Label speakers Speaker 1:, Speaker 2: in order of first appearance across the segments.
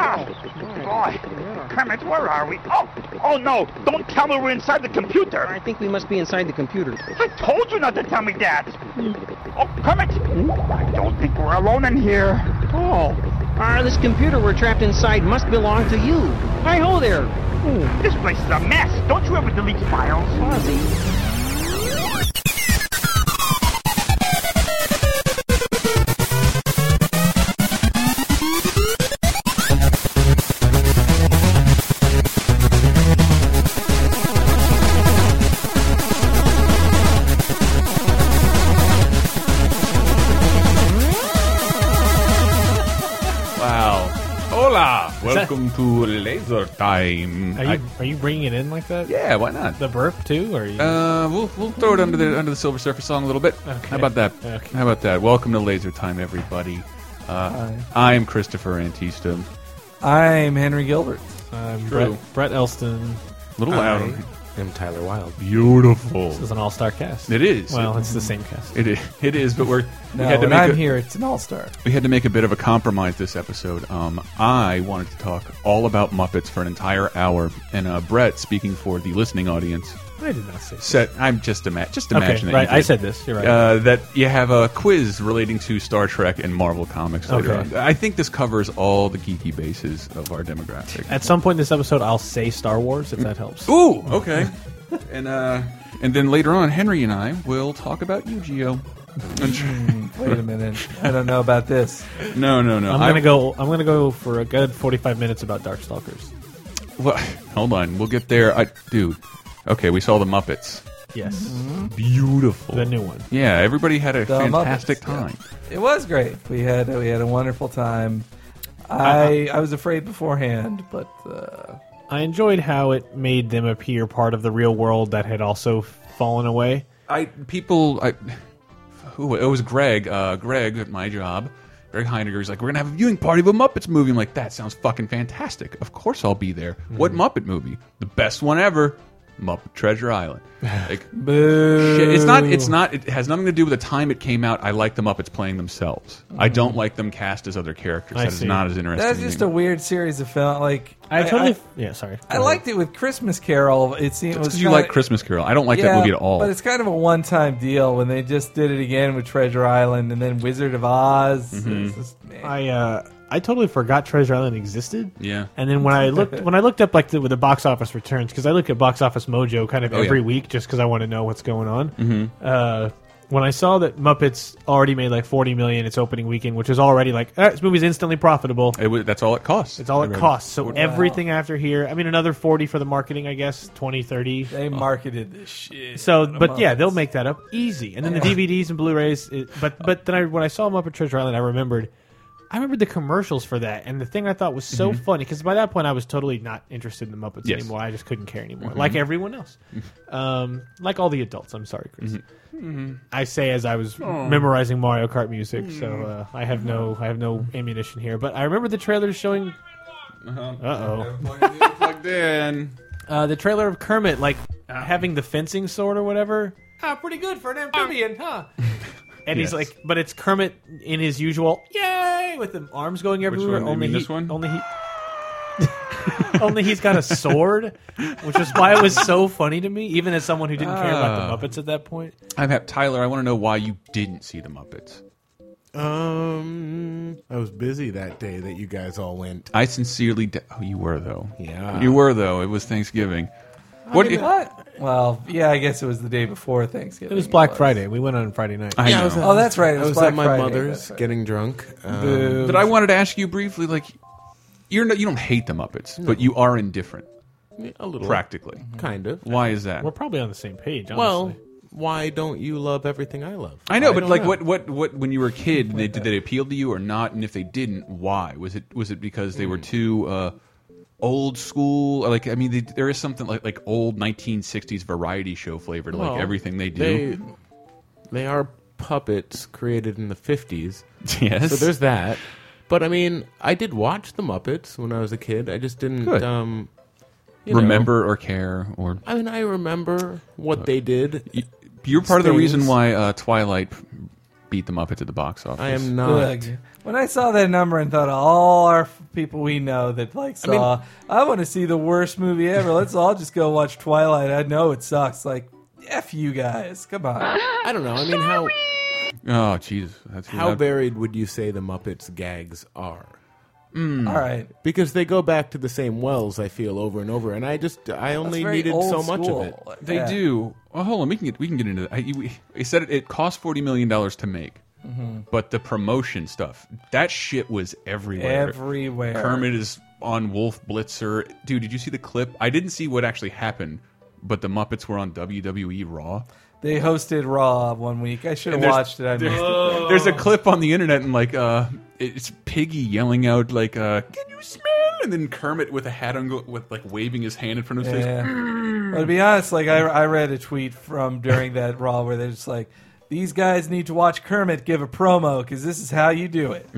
Speaker 1: boy. Kermit, where are we? Oh, oh no! Don't tell me we're inside the computer.
Speaker 2: I think we must be inside the computer.
Speaker 1: I told you not to tell me that. Oh, Kermit, I don't think we're alone in here.
Speaker 2: Oh, ah, this computer we're trapped inside must belong to you. Hi ho there. Hmm,
Speaker 1: This place is a mess. Don't you ever delete files?
Speaker 2: Fozzie.
Speaker 3: Wow. Hola. Welcome to Laser Time.
Speaker 4: Are you are you bringing it in like that?
Speaker 3: I- yeah, why not?
Speaker 4: The burp too? Or are you?
Speaker 3: Uh, we'll we'll throw it under the under the Silver Surfer song a little bit. How about that?
Speaker 4: Okay.
Speaker 3: How about that? Welcome to Laser Time, everybody. Uh, I'm Christopher Antista.
Speaker 5: I'm Henry Gilbert.
Speaker 3: true.
Speaker 4: I'm Brett, Brett Elston.
Speaker 3: A little loud.
Speaker 5: I'm Tyler Wilde.
Speaker 3: Beautiful.
Speaker 4: This is an all-star cast.
Speaker 3: It is.
Speaker 4: Well, it's the same cast.
Speaker 3: It is, it is, but we're we
Speaker 5: No,
Speaker 3: had to
Speaker 5: when
Speaker 3: make
Speaker 5: I'm
Speaker 3: a,
Speaker 5: here, it's an all-star.
Speaker 3: we had to make a bit of a compromise this episode. Um, I wanted to talk all about Muppets for an entire hour, and uh, Brett, speaking for the listening audience,
Speaker 4: I did not say.
Speaker 3: said, "I'm just ima- just
Speaker 4: Okay,
Speaker 3: imagine that
Speaker 4: right.
Speaker 3: you did.
Speaker 4: I said this. You're right.
Speaker 3: Uh, that you have a quiz relating to Star Trek and Marvel Comics later
Speaker 4: Okay.
Speaker 3: on. I think this covers all the geeky bases of our demographic.
Speaker 4: At some point in this episode, I'll say Star Wars if that helps.
Speaker 3: Ooh, okay. and uh, and then later on, Henry and I will talk about Yu-Gi-Oh.
Speaker 5: Wait a minute. I don't know about this.
Speaker 3: no, no, no.
Speaker 4: I'm
Speaker 3: I-
Speaker 4: gonna go. I'm gonna go for a good 45 minutes about Darkstalkers.
Speaker 3: Well, hold on, we'll get there. I, dude, okay, we saw the Muppets.
Speaker 4: Yes,
Speaker 5: Mm-hmm.
Speaker 3: Beautiful.
Speaker 4: the new one.
Speaker 3: yeah, everybody had a
Speaker 5: The
Speaker 3: fantastic
Speaker 5: Muppets,
Speaker 3: time.
Speaker 5: It was great. We had we had a wonderful time. I I was afraid beforehand, but uh,
Speaker 4: I enjoyed how it made them appear part of the real world that had also fallen away.
Speaker 3: I people, I who it was Greg, uh, Greg at my job. Greg Heinegger was like, "We're gonna have a viewing party of a Muppets movie." I'm like, "That sounds fucking fantastic. Of course I'll be there." What
Speaker 4: Hmm.
Speaker 3: Muppet movie? The best one ever. Muppet Treasure Island. Like,
Speaker 5: boo.
Speaker 3: Shit, it's not. It's not. It has nothing to do with the time it came out. I like the Muppets playing themselves. I don't like them cast as other characters.
Speaker 4: Hmm. I
Speaker 3: That is
Speaker 4: see.
Speaker 3: not as interesting.
Speaker 5: That's
Speaker 3: to
Speaker 5: just
Speaker 3: me.
Speaker 5: a weird series of film. Like
Speaker 4: I totally.
Speaker 5: I,
Speaker 4: yeah, sorry.
Speaker 5: I liked it with Christmas Carol. It seemed
Speaker 3: That's
Speaker 5: was
Speaker 3: 'cause you
Speaker 5: kinda-
Speaker 3: like Christmas Carol. I don't like
Speaker 5: yeah,
Speaker 3: that movie at all.
Speaker 5: But it's kind of a one-time deal when they just did it again with Treasure Island and then Wizard of Oz.
Speaker 3: Mm-hmm.
Speaker 5: It's just-
Speaker 4: I uh, I totally forgot Treasure Island existed.
Speaker 3: Yeah.
Speaker 4: And then when I looked when I looked up like the, with the box office returns because I look at box office Mojo kind of
Speaker 3: Oh,
Speaker 4: every
Speaker 3: yeah. Mm-hmm.
Speaker 4: week just because I want to know what's going on. Uh, when I saw that Muppets already made like forty million its opening weekend, which is already like eh, this movie's instantly profitable.
Speaker 3: It was- that's all it costs.
Speaker 4: It's all
Speaker 3: I
Speaker 4: it
Speaker 3: read.
Speaker 4: costs. So everything after here, I mean, another forty for the marketing, I guess, 20, 30.
Speaker 3: Oh.
Speaker 5: they marketed this shit.
Speaker 4: So,
Speaker 5: out of
Speaker 4: but yeah,
Speaker 5: Muppets.
Speaker 4: they'll make that up easy. And then the DVDs and Blu-rays. It, but but then I, when I saw them up at Treasure Island, I remembered, I remembered the commercials for that. And the thing I thought was so funny because by that point I was totally not interested in the Muppets
Speaker 3: Yes.
Speaker 4: anymore. I just couldn't care anymore, like everyone else, um, like all the adults. I'm sorry, Chris. Mm-hmm. I say as I was memorizing Mario Kart music, so uh, I have no I have no ammunition here. But I remember the trailers showing. Uh oh.
Speaker 3: Plugged in.
Speaker 4: Uh, the trailer of Kermit, like
Speaker 3: Ah.
Speaker 4: having the fencing sword or whatever. Ah, pretty good for an amphibian, huh? and
Speaker 3: Ah. Yes.
Speaker 4: he's like, but it's Kermit in his usual yay with the arms going everywhere.
Speaker 3: one? You
Speaker 4: Only
Speaker 3: mean
Speaker 4: he,
Speaker 3: this one?
Speaker 4: Only he. only he's got a sword, which is why it was so funny to me, even as someone who didn't care
Speaker 3: Ah.
Speaker 4: about the Muppets at that point.
Speaker 3: I'm happy. Tyler, I want to know why you didn't see the Muppets.
Speaker 6: Um, I was busy that day that you guys all went.
Speaker 3: I sincerely. d oh, you were though.
Speaker 6: Yeah.
Speaker 3: you were though. It was Thanksgiving. What? do you-
Speaker 5: What? Well, yeah, I guess it was the day before Thanksgiving.
Speaker 4: It was Black Friday. We went on Friday night.
Speaker 3: I know.
Speaker 5: Oh, that's right. It was
Speaker 6: I was
Speaker 5: Black
Speaker 6: at my
Speaker 5: Friday,
Speaker 6: mother's
Speaker 5: that's right.
Speaker 6: getting drunk. Um,
Speaker 5: Boo.
Speaker 3: but I wanted to ask you briefly, like, you're no, you don't hate the Muppets, but you are indifferent,
Speaker 6: a little,
Speaker 3: practically.
Speaker 6: kind of.
Speaker 3: Why is that?
Speaker 4: We're probably on the same page. Honestly.
Speaker 6: Well, why don't you love everything I love?
Speaker 3: I know, but
Speaker 6: don't
Speaker 3: like, what, what, what? When you were a kid, they, did they appeal to you or not? And if they didn't, why? Was it was it because they
Speaker 6: Hmm.
Speaker 3: were too uh, old school? Or, Like, I mean, they, there is something like like old 1960s variety show flavor to
Speaker 6: Well,
Speaker 3: like everything they do.
Speaker 6: They, they are puppets created in the fifties.
Speaker 3: yes,
Speaker 6: So there's that. But I mean, I did watch the Muppets when I was a kid. I just didn't
Speaker 3: Good.
Speaker 6: um you know.
Speaker 3: remember or care or
Speaker 6: I
Speaker 3: Uh,
Speaker 6: mean, I remember what they did.
Speaker 3: you're part of the
Speaker 6: Things.
Speaker 3: reason why uh, Twilight beat the Muppets at the box office.
Speaker 6: I am not.
Speaker 5: Look, when I saw that number and thought all our f- people we know that like
Speaker 6: I mean-
Speaker 5: saw, I, want to see the worst movie ever. Let's all just go watch Twilight. I know it sucks. Like, f you guys. Come on.
Speaker 6: I don't know. I mean, how
Speaker 3: Oh, Jesus. That's
Speaker 6: how
Speaker 3: that-
Speaker 6: buried would you say the Muppets gags are? Hmm.
Speaker 5: All right.
Speaker 6: Because they go back to the same wells, I feel over and over, and I just I
Speaker 5: That's
Speaker 6: only
Speaker 5: very
Speaker 6: needed
Speaker 5: old
Speaker 6: so much
Speaker 5: school.
Speaker 6: of it.
Speaker 5: Like,
Speaker 3: They
Speaker 5: yeah.
Speaker 3: do. Oh, hold on. We can get we can get into that. I, you- we, it said it, it cost forty million dollars to make,
Speaker 6: Mm-hmm.
Speaker 3: but the promotion stuff that shit was everywhere.
Speaker 5: everywhere.
Speaker 3: Kermit is on Wolf Blitzer. Dude, did you see the clip? I didn't see what actually happened, but the Muppets were on WWE Raw.
Speaker 5: They hosted Raw one week. I should
Speaker 3: And
Speaker 5: have
Speaker 3: there's-
Speaker 5: watched it. I missed it.
Speaker 3: There's a clip on the internet and like uh it's Piggy yelling out like uh can you smell and then Kermit with a hat on go- with like waving his hand in front of his face.
Speaker 5: Yeah. But to be honest, like I, I read a tweet from during that Raw where they're just like, these guys need to watch Kermit give a promo because this is how you do it.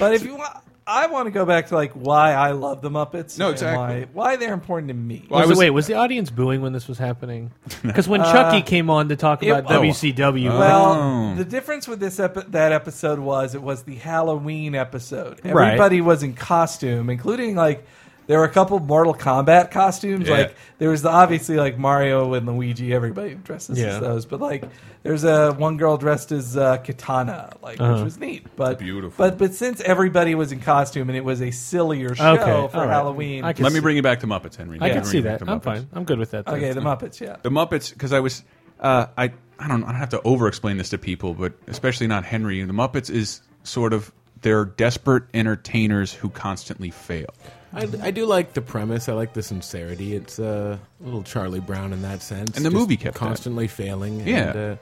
Speaker 5: but if you want, I want to go back to like why I love the Muppets.
Speaker 3: No,
Speaker 5: and
Speaker 3: exactly.
Speaker 5: Why, why they're important to me.
Speaker 3: I
Speaker 4: Was the-
Speaker 3: was-
Speaker 4: wait, was the audience booing when this was happening? Because when Chucky came on to talk
Speaker 5: it-
Speaker 4: about
Speaker 5: oh.
Speaker 4: WCW, Oh.
Speaker 5: Well, the difference with this epi- that episode was it was the Halloween episode.
Speaker 4: Right.
Speaker 5: Everybody was in costume, including like there were a couple Mortal Kombat costumes.
Speaker 3: Yeah.
Speaker 5: Like there was the, obviously like Mario and Luigi. Everybody dresses
Speaker 4: Yeah.
Speaker 5: as those, but like there's a one girl dressed as uh, Katana, like
Speaker 4: Uh-huh.
Speaker 5: which was neat. But
Speaker 3: Beautiful.
Speaker 5: But but since everybody was in costume and it was a sillier show
Speaker 4: Okay,
Speaker 5: for
Speaker 4: all right.
Speaker 5: Halloween.
Speaker 4: I can-
Speaker 3: Let me bring you back to Muppets, Henry.
Speaker 4: I
Speaker 3: Let me
Speaker 4: can
Speaker 3: bring
Speaker 4: see
Speaker 3: you back
Speaker 4: that.
Speaker 3: to
Speaker 4: I'm
Speaker 3: Muppets.
Speaker 4: fine. I'm good with that.
Speaker 5: okay,
Speaker 4: then.
Speaker 5: the Muppets. Yeah.
Speaker 3: The Muppets, because I was, uh, I, I don't, I don't have to over-explain this to people, but especially not Henry. The Muppets is sort of they're desperate entertainers who constantly fail.
Speaker 6: I, I do like the premise. I like the sincerity. It's uh, a little Charlie Brown in that sense.
Speaker 3: And the
Speaker 6: Just
Speaker 3: movie kept that.
Speaker 6: constantly failing.
Speaker 3: Yeah.
Speaker 6: and, uh,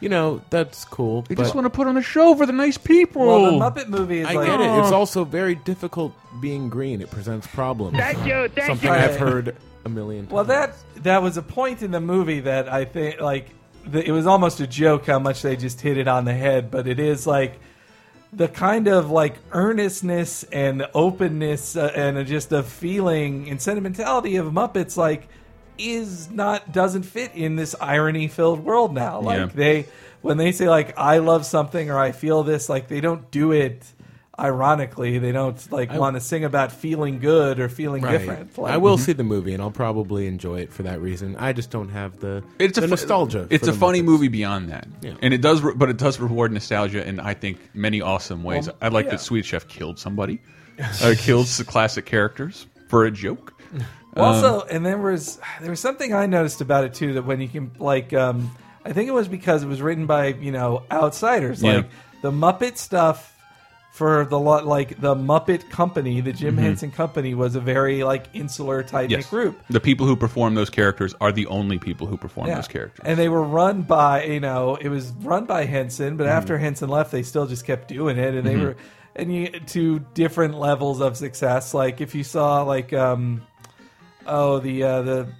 Speaker 6: you know that's cool.
Speaker 3: They
Speaker 6: but
Speaker 3: just want to put on a show for the nice people.
Speaker 5: Well, the Muppet movie is
Speaker 6: I
Speaker 5: like
Speaker 6: get it. It's also very difficult being green. It presents problems.
Speaker 1: Thank you, thank
Speaker 6: Something
Speaker 1: you.
Speaker 6: I've heard a million.
Speaker 5: Well,
Speaker 6: times.
Speaker 5: that that was a point in the movie that I think like the, it was almost a joke how much they just hit it on the head, but it is like the kind of like earnestness and openness uh, and uh, just a feeling and sentimentality of Muppets like is not doesn't fit in this irony filled world now. Like
Speaker 3: Yeah.
Speaker 5: they when they say like I love something or I feel this, like they don't do it ironically. They don't like want to sing about feeling good or feeling
Speaker 6: Right.
Speaker 5: different. Like,
Speaker 6: I will see the movie, and I'll probably enjoy it for that reason. I just don't have the
Speaker 3: It's
Speaker 6: the
Speaker 3: a fu-
Speaker 6: nostalgia.
Speaker 3: It's
Speaker 6: for
Speaker 3: a
Speaker 6: the
Speaker 3: funny
Speaker 6: Muppets.
Speaker 3: movie beyond that,
Speaker 6: Yeah.
Speaker 3: and it does, re- but it does reward nostalgia in I think many awesome ways.
Speaker 5: Well,
Speaker 3: I like
Speaker 5: yeah.
Speaker 3: that Sweet Chef killed somebody, uh, killed the classic characters for a joke. Um,
Speaker 5: Also, and there was there was something I noticed about it too that when you can like um I think it was because it was written by, you know, outsiders
Speaker 3: Yeah.
Speaker 5: like the Muppet stuff for the lot like the Muppet Company, the Jim Henson Company was a very like insular type
Speaker 3: Mm-hmm. Yes,
Speaker 5: group.
Speaker 3: the people who perform those characters are the only people who perform
Speaker 5: Yeah.
Speaker 3: those characters.
Speaker 5: And they were run by, you know, it was run by Henson,
Speaker 3: Mm-hmm.
Speaker 5: but after Henson left, they still just kept doing it. And they were, and you, to different levels of success. Like, if you saw, like, um, oh, the, uh, the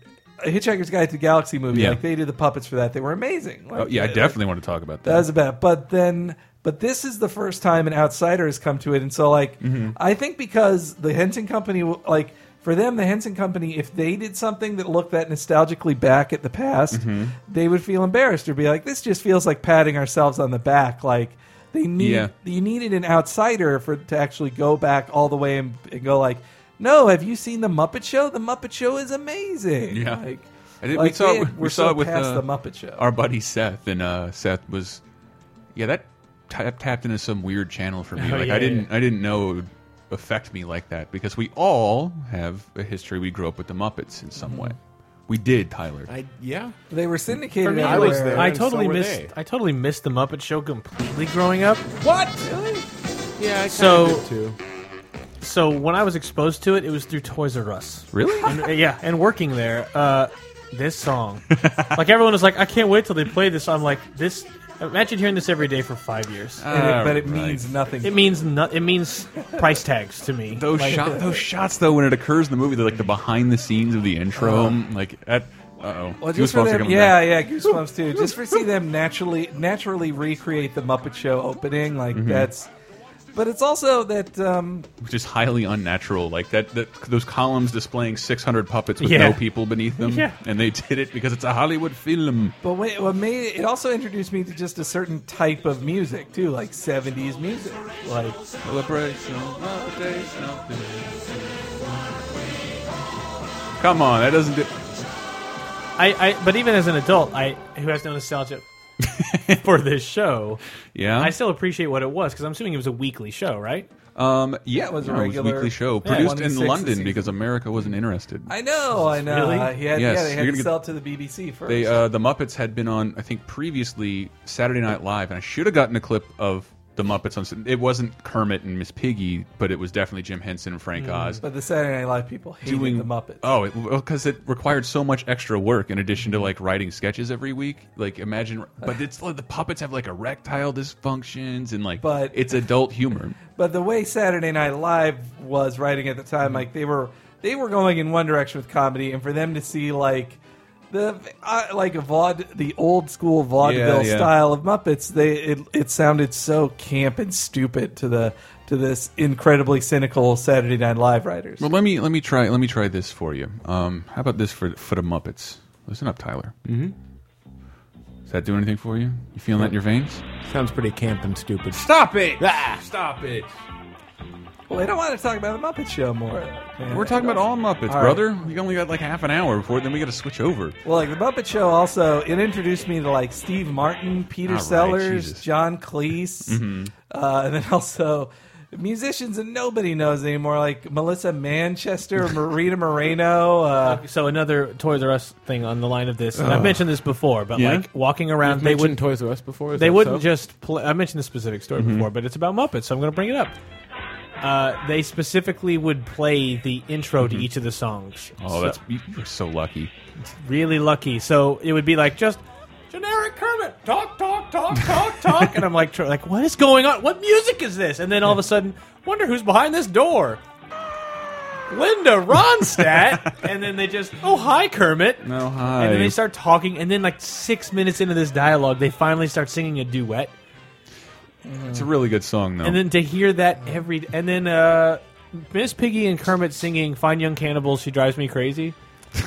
Speaker 5: Hitchhiker's Guide to the Galaxy movie,
Speaker 3: Yeah.
Speaker 5: like, they did the puppets for that. They were amazing. Like,
Speaker 3: Oh, yeah, I
Speaker 5: like,
Speaker 3: definitely want to talk about that.
Speaker 5: that was about. But then, but this is the first time an outsider has come to it, and so like
Speaker 3: Mm-hmm.
Speaker 5: I think because the Henson Company, w- like for them, the Henson Company, if they did something that looked that nostalgically back at the past,
Speaker 3: Mm-hmm.
Speaker 5: they would feel embarrassed or be like, "This just feels like patting ourselves on the back." Like they need
Speaker 3: Yeah.
Speaker 5: you needed an outsider for to actually go back all the way and, and go like. No, have you seen the Muppet Show? The Muppet Show is amazing.
Speaker 3: Yeah.
Speaker 5: like,
Speaker 3: I did- we
Speaker 5: like,
Speaker 3: saw it
Speaker 5: they-
Speaker 3: with- we
Speaker 5: we're
Speaker 3: saw
Speaker 5: so
Speaker 3: it with,
Speaker 5: past
Speaker 3: uh,
Speaker 5: the Muppet Show.
Speaker 3: our buddy Seth, and uh, Seth was, yeah, that tap tapped into some weird channel for me.
Speaker 4: Oh,
Speaker 3: like
Speaker 4: yeah,
Speaker 3: I didn't, I didn't know it would affect me like that because we all have a history. We grew up with the Muppets in
Speaker 4: Mm-hmm.
Speaker 3: some way. We did, Tyler.
Speaker 6: I yeah.
Speaker 5: they were syndicated.
Speaker 6: me, I was
Speaker 5: everywhere.
Speaker 6: there.
Speaker 4: I
Speaker 6: and so
Speaker 4: totally
Speaker 6: were
Speaker 4: missed.
Speaker 6: they.
Speaker 4: I totally missed the Muppet Show completely growing up.
Speaker 5: What? Really?
Speaker 6: Yeah, I
Speaker 4: So-
Speaker 6: kind of too.
Speaker 4: So when I was exposed to it, it was through Toys R Us.
Speaker 3: really?
Speaker 4: And, uh, yeah, and working there, uh, this song, like everyone was like, I can't wait till they play this. I'm like, this. Imagine hearing this every day for five years.
Speaker 5: And it- but it
Speaker 3: Alright.
Speaker 5: means nothing.
Speaker 4: It means no, It means price tags to me.
Speaker 3: Those
Speaker 4: Like,
Speaker 3: shot, those shots though, when it occurs in the movie, they're like the behind the scenes of the intro. like at, uh oh,
Speaker 5: Uh-huh. well, just for
Speaker 3: Goosebumps are
Speaker 5: them,
Speaker 3: coming
Speaker 5: yeah,
Speaker 3: back.
Speaker 5: yeah, goosebumps too.
Speaker 3: Mm-hmm.
Speaker 5: Just for see them naturally, naturally recreate the Muppet Show opening, like that's But it's also that um,
Speaker 3: which is highly unnatural. Like that, that those columns displaying 600 puppets with
Speaker 4: Yeah.
Speaker 3: no people beneath them,
Speaker 4: Yeah.
Speaker 3: and they did it because it's a Hollywood film.
Speaker 5: But wait, what made it also introduced me to just a certain type of music too, like '70s music. Like
Speaker 3: Come on, that doesn't. Do
Speaker 4: I, I but even as an adult, I who has no nostalgia for this show,
Speaker 3: yeah,
Speaker 4: I still appreciate what it was because I'm assuming it was a weekly show, right?
Speaker 3: um, yeah,
Speaker 5: That was a
Speaker 3: no,
Speaker 5: regular-
Speaker 3: weekly show
Speaker 5: Yeah,
Speaker 3: produced
Speaker 5: one to
Speaker 3: in
Speaker 5: six
Speaker 3: London
Speaker 5: season.
Speaker 3: because America wasn't interested.
Speaker 5: I know, I know.
Speaker 4: Really?
Speaker 5: Uh, he had,
Speaker 3: Yes,
Speaker 5: yeah,
Speaker 3: you're
Speaker 5: they had
Speaker 3: gonna
Speaker 5: to
Speaker 3: get-
Speaker 5: sell it to the BBC first.
Speaker 3: They uh, the Muppets had been on, I think, previously Saturday Night Live, and I should have gotten a clip of the Muppets on. It wasn't Kermit and Miss Piggy, but it was definitely Jim Henson and
Speaker 5: Mm.
Speaker 3: Frank Oz.
Speaker 5: but the Saturday Night Live people hated
Speaker 3: doing
Speaker 5: the Muppets.
Speaker 3: Oh, because it, required so much extra work in addition to like writing sketches every week. Like imagine, but it's like the puppets have like erectile dysfunctions and like,
Speaker 5: But-
Speaker 3: it's adult humor.
Speaker 5: But the way Saturday Night Live was writing at the
Speaker 3: Mm-hmm.
Speaker 5: time, like they were they were going in one direction with comedy, and for them to see like the uh, like a vaud the old school vaudeville
Speaker 3: Yeah, yeah.
Speaker 5: style of Muppets, they it, it sounded so camp and stupid to the to this incredibly cynical Saturday Night Live writers.
Speaker 3: Well, let me let me try let me try this for you. Um, how about this for for the Muppets? Listen up, Tyler. Mm-hmm. Does that do anything for you? You feeling that in your veins?
Speaker 6: Sounds pretty camp and stupid.
Speaker 3: Stop it! Stop it!
Speaker 5: Well, they don't want to talk about the Muppet Show more. man.
Speaker 3: We're talking about all Muppets,
Speaker 5: All right.
Speaker 3: brother. We only got like half an hour before then we got to switch over.
Speaker 5: Well, like the Muppet Show, also it introduced me to like Steve Martin, Peter
Speaker 3: All right,
Speaker 5: Sellers,
Speaker 3: Jesus.
Speaker 5: John Cleese, uh, and then also musicians that nobody knows anymore, like Melissa Manchester, Marina Moreno. Uh,
Speaker 4: So another Toys R Us thing on the line of this. And I've mentioned this before, but
Speaker 3: Yeah?
Speaker 4: like walking around,
Speaker 6: You've
Speaker 4: they
Speaker 6: mentioned
Speaker 4: wouldn't
Speaker 6: Toys R Us before. is
Speaker 4: they
Speaker 6: that
Speaker 4: wouldn't
Speaker 6: so?
Speaker 4: just play. I mentioned this specific story before, but it's about Muppets, so I'm going to bring it up. Uh, they specifically would play the intro to each of the songs.
Speaker 3: Oh,
Speaker 4: So-
Speaker 3: that's you- you're so lucky.
Speaker 4: really lucky. So it would be like just generic Kermit talk, talk, talk, talk, talk, and I'm like, tr- like what is going on? What music is this? And then all of a sudden, wonder who's behind this door. Linda Ronstadt, and then they just, oh hi Kermit.
Speaker 3: No, hi.
Speaker 4: And then they start talking, and then like six minutes into this dialogue, they finally start singing a duet.
Speaker 3: It's a really good song though.
Speaker 4: And then to hear that every, and then uh, Miss Piggy and Kermit singing "Fine Young Cannibals," she drives me crazy.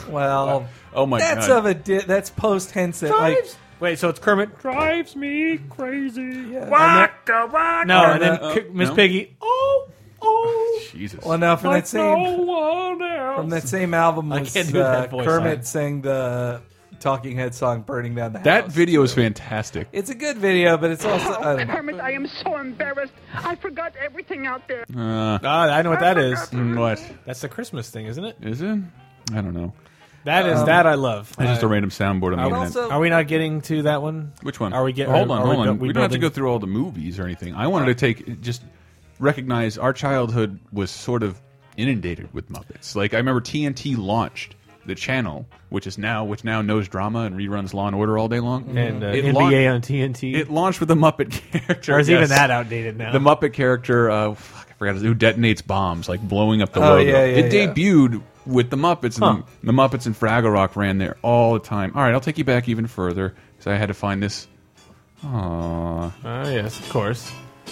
Speaker 5: well,
Speaker 3: oh my
Speaker 5: that's
Speaker 3: god.
Speaker 5: of a di- that's post Henson. Like,
Speaker 4: Wait, so it's Kermit drives me crazy.
Speaker 5: yeah, and then-
Speaker 1: Waka, waka.
Speaker 4: No, and then
Speaker 5: Uh,
Speaker 4: K- Miss
Speaker 3: no?
Speaker 4: Piggy. Oh, oh,
Speaker 3: Jesus.
Speaker 5: well, now from
Speaker 4: like
Speaker 5: that
Speaker 4: no
Speaker 5: same
Speaker 4: one else.
Speaker 5: from that same album,
Speaker 4: I
Speaker 5: was,
Speaker 4: can't do that
Speaker 5: uh,
Speaker 4: voice.
Speaker 5: Kermit
Speaker 4: I-
Speaker 5: sang the Talking Head song "Burning Down the
Speaker 3: that
Speaker 5: House."
Speaker 3: video is fantastic.
Speaker 5: It's a good video, but it's also I
Speaker 7: Oh,
Speaker 5: don't know.
Speaker 7: Kermit, I am so embarrassed. I forgot everything out there.
Speaker 3: Uh,
Speaker 4: Ah, I know what that is.
Speaker 3: mm, what
Speaker 4: That's the Christmas thing, isn't it?
Speaker 3: is it? I don't know.
Speaker 4: That is that I love.
Speaker 3: It's just a random soundboard on the
Speaker 5: And
Speaker 3: internet.
Speaker 5: also,
Speaker 4: Are we not getting to that one?
Speaker 3: Which one?
Speaker 4: Are we getting?
Speaker 3: Hold on,
Speaker 4: are
Speaker 3: hold on.
Speaker 4: bu-
Speaker 3: We, don't have to go
Speaker 4: building-
Speaker 3: through all the movies or anything. I wanted to take just recognize our childhood was sort of inundated with Muppets. Like I remember TNT launched the channel, which is now which now knows drama and reruns Law and Order all day long.
Speaker 4: and uh,
Speaker 3: It
Speaker 4: NBA
Speaker 3: launched-
Speaker 4: on TNT.
Speaker 3: It launched with a Muppet character.
Speaker 4: or is even
Speaker 3: yes.
Speaker 4: that outdated now?
Speaker 3: The Muppet character, uh, fuck, I forgot his- who detonates bombs, like blowing up the
Speaker 5: Oh,
Speaker 3: logo.
Speaker 5: yeah, yeah,
Speaker 3: it
Speaker 5: yeah.
Speaker 3: debuted with the Muppets, and
Speaker 4: Huh.
Speaker 3: the, the Muppets and Fraggle Rock ran there all the time. All right, I'll take you back even further because I had to find this. Aww.
Speaker 4: Ah, yes, of course.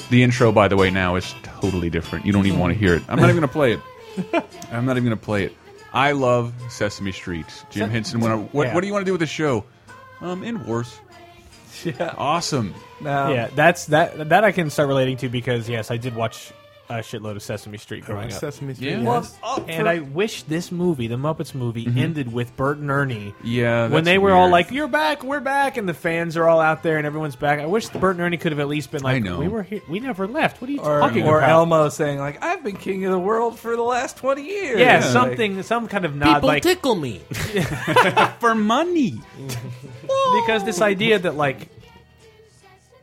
Speaker 3: The intro, by the way, now is totally different. You don't even want to hear it. I'm not even going to play it. I'm not even going to play it. I love Sesame Street. Jim Henson. When I, what,
Speaker 4: yeah.
Speaker 3: what do you want to do with the show? Um, in wars.
Speaker 5: yeah,
Speaker 3: Awesome.
Speaker 5: no.
Speaker 4: yeah, that's that. That I can start relating to because yes, I did watch a shitload of Sesame Street growing up.
Speaker 6: Oh, Sesame Street.
Speaker 3: Yeah.
Speaker 5: Well,
Speaker 6: yes.
Speaker 5: oh,
Speaker 4: And
Speaker 5: for-
Speaker 4: I wish this movie, the Muppets movie, ended with Bert and Ernie.
Speaker 3: Yeah,
Speaker 4: when
Speaker 3: Oh, that's
Speaker 4: they were all
Speaker 3: weird.
Speaker 4: like, "You're back, we're back," and the fans are all out there and everyone's back. I wish Bert and Ernie could have at least been like,
Speaker 3: I know.
Speaker 4: "We were here, we never left." What are you
Speaker 5: or,
Speaker 4: talking
Speaker 5: or
Speaker 4: about?
Speaker 5: Elmo saying like, "I've been king of the world for the last twenty years."
Speaker 4: yeah,
Speaker 5: Like,
Speaker 4: something, some kind of nod,
Speaker 6: People
Speaker 4: like
Speaker 6: tickle me.
Speaker 3: for money.
Speaker 4: because this idea that like,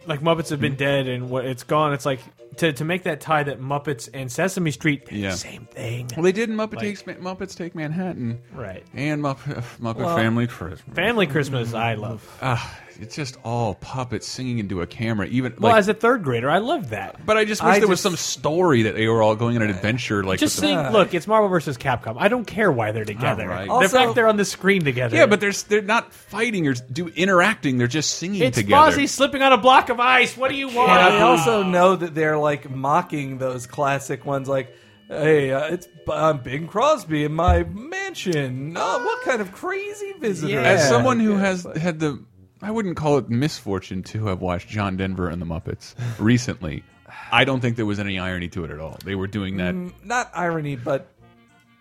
Speaker 4: like Muppets have been dead and what it's gone. It's like to to make that tie that Muppets and Sesame Street, they're
Speaker 3: Yeah.
Speaker 4: the same thing,
Speaker 3: Well, they did in Muppet Takes Ma- Muppets Take Manhattan
Speaker 4: right?
Speaker 3: and Muppet, Muppet Family Christmas.
Speaker 4: Family Christmas, I love.
Speaker 3: Ah, It's just all puppets singing into a camera. Even
Speaker 4: Well,
Speaker 3: like,
Speaker 4: as a third grader, I loved that.
Speaker 3: but I just wish
Speaker 5: I
Speaker 3: there was
Speaker 5: just-
Speaker 3: some story that they were all going on an adventure. Like
Speaker 4: Just
Speaker 3: with the-
Speaker 4: think, look, it's Marvel versus Capcom. I don't care why they're together.
Speaker 3: All right.
Speaker 4: The
Speaker 5: Also-
Speaker 4: fact they're on the screen together.
Speaker 3: yeah, but they're they're not fighting or do interacting. They're just singing
Speaker 4: it's
Speaker 3: together.
Speaker 4: Fozzie slipping on a block of ice. What do you want?
Speaker 5: And I also know that they're like mocking those classic ones, like, "Hey, uh, it's I'm Bing Crosby in my mansion. Oh, what kind of crazy visitor?"
Speaker 4: Yeah.
Speaker 3: As someone who
Speaker 5: Yeah,
Speaker 3: has
Speaker 5: but-
Speaker 3: had the, I wouldn't call it misfortune to have watched John Denver and the Muppets recently. I don't think there was any irony to it at all. They were doing that.
Speaker 4: Mm,
Speaker 5: not irony, but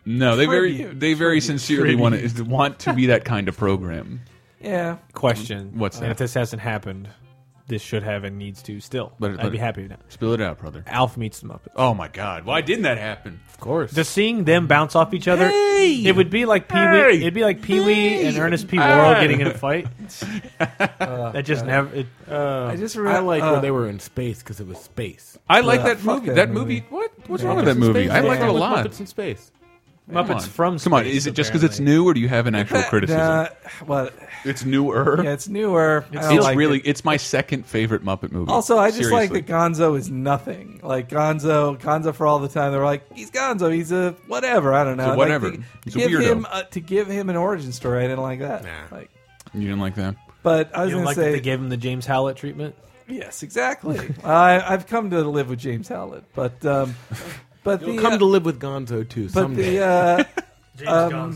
Speaker 3: no, they very
Speaker 5: tribute,
Speaker 3: they very sincerely want to, is- want to be that kind of program.
Speaker 5: yeah,
Speaker 4: question.
Speaker 3: What's
Speaker 4: and
Speaker 3: that?
Speaker 4: if this hasn't happened, this should have and needs to still.
Speaker 3: Let it-
Speaker 4: I'd
Speaker 3: let
Speaker 4: be
Speaker 3: it-
Speaker 4: happy now.
Speaker 3: Spill it out, brother.
Speaker 4: Alf meets the Muppets.
Speaker 3: Oh my God! Why didn't that happen?
Speaker 6: Of course.
Speaker 4: Just seeing them bounce off each other,
Speaker 3: Hey!
Speaker 4: it would be like Pee Wee.
Speaker 3: Hey!
Speaker 4: It'd be like Pee Wee and
Speaker 3: Hey!
Speaker 4: Ernest P.
Speaker 3: Hey! Uh,
Speaker 4: Worrell getting in a fight. that just never. It,
Speaker 5: I just uh,
Speaker 6: I
Speaker 5: remember
Speaker 6: like when they were in space because it was space.
Speaker 3: I like that
Speaker 5: fuck
Speaker 3: movie.
Speaker 5: that
Speaker 3: That
Speaker 5: movie.
Speaker 3: movie. What? What's wrong with that movie? I liked it a lot.
Speaker 6: Muppets in space.
Speaker 3: Come on.
Speaker 4: Muppets from
Speaker 3: Come on.
Speaker 4: space,
Speaker 3: Is it just because it's new, or do you have an actual criticism?
Speaker 5: Nah, well,
Speaker 3: it's newer.
Speaker 5: uh, yeah, it's newer. I don't
Speaker 3: it's
Speaker 5: like
Speaker 3: really.
Speaker 5: it.
Speaker 3: It's my second favorite Muppet movie.
Speaker 5: Also, I just like
Speaker 3: Seriously.
Speaker 5: that Gonzo is nothing. Like Gonzo, Gonzo for all the time. They're like, he's Gonzo. He's a whatever. I don't know.
Speaker 3: He's a
Speaker 5: Like,
Speaker 3: whatever.
Speaker 5: to-
Speaker 3: He's a
Speaker 5: give
Speaker 3: weirdo.
Speaker 5: him uh, to give him an origin story. I didn't like that.
Speaker 6: Nah.
Speaker 5: Like,
Speaker 3: You didn't like that.
Speaker 5: but I was
Speaker 4: you don't
Speaker 5: gonna
Speaker 4: like that
Speaker 5: say
Speaker 4: they gave him the James Howlett treatment.
Speaker 5: Yes, exactly. I, I've come to live with James Howlett, but um, but the
Speaker 6: You'll come
Speaker 5: uh,
Speaker 6: to live with Gonzo too
Speaker 5: but
Speaker 6: someday.
Speaker 5: the uh,
Speaker 4: James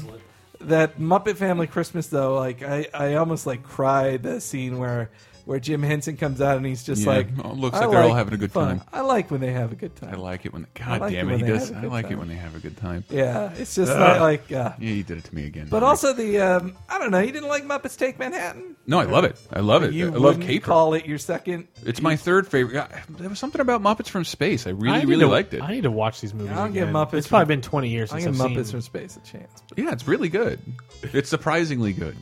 Speaker 4: Gonsolin.
Speaker 5: that Muppet Family Christmas though, like I, I almost like cried the scene where where Jim Henson comes out and he's just
Speaker 3: Yeah.
Speaker 5: like,
Speaker 3: Oh, it looks
Speaker 5: I
Speaker 3: like they're all having a good
Speaker 5: fun.
Speaker 3: time.
Speaker 5: I like when they have a good time.
Speaker 3: I like it when. God
Speaker 5: like it
Speaker 3: damn it,
Speaker 5: when
Speaker 3: he
Speaker 5: they
Speaker 3: does.
Speaker 5: have a
Speaker 3: I
Speaker 5: good
Speaker 3: like it
Speaker 5: time.
Speaker 3: when they have a good time. Yeah,
Speaker 5: yeah, it's just not like. Uh,
Speaker 3: he did it to me again.
Speaker 5: but
Speaker 3: Henry.
Speaker 5: also the um, I don't know. You didn't like Muppets Take Manhattan.
Speaker 3: no, I love it. I love it.
Speaker 5: You
Speaker 3: I love
Speaker 5: wouldn't
Speaker 3: Caper.
Speaker 5: call it your second.
Speaker 3: it's my third favorite. God, there was something about Muppets from Space. I really,
Speaker 4: I need
Speaker 3: really
Speaker 4: to-
Speaker 3: liked it.
Speaker 4: I need to watch these movies.
Speaker 5: I'll give
Speaker 4: again.
Speaker 5: Muppets
Speaker 4: It's probably been
Speaker 5: from-
Speaker 4: twenty years
Speaker 5: I
Speaker 4: since
Speaker 5: give
Speaker 4: I've
Speaker 5: Muppets
Speaker 4: seen.
Speaker 5: from Space a chance.
Speaker 3: yeah, it's really good. It's surprisingly good.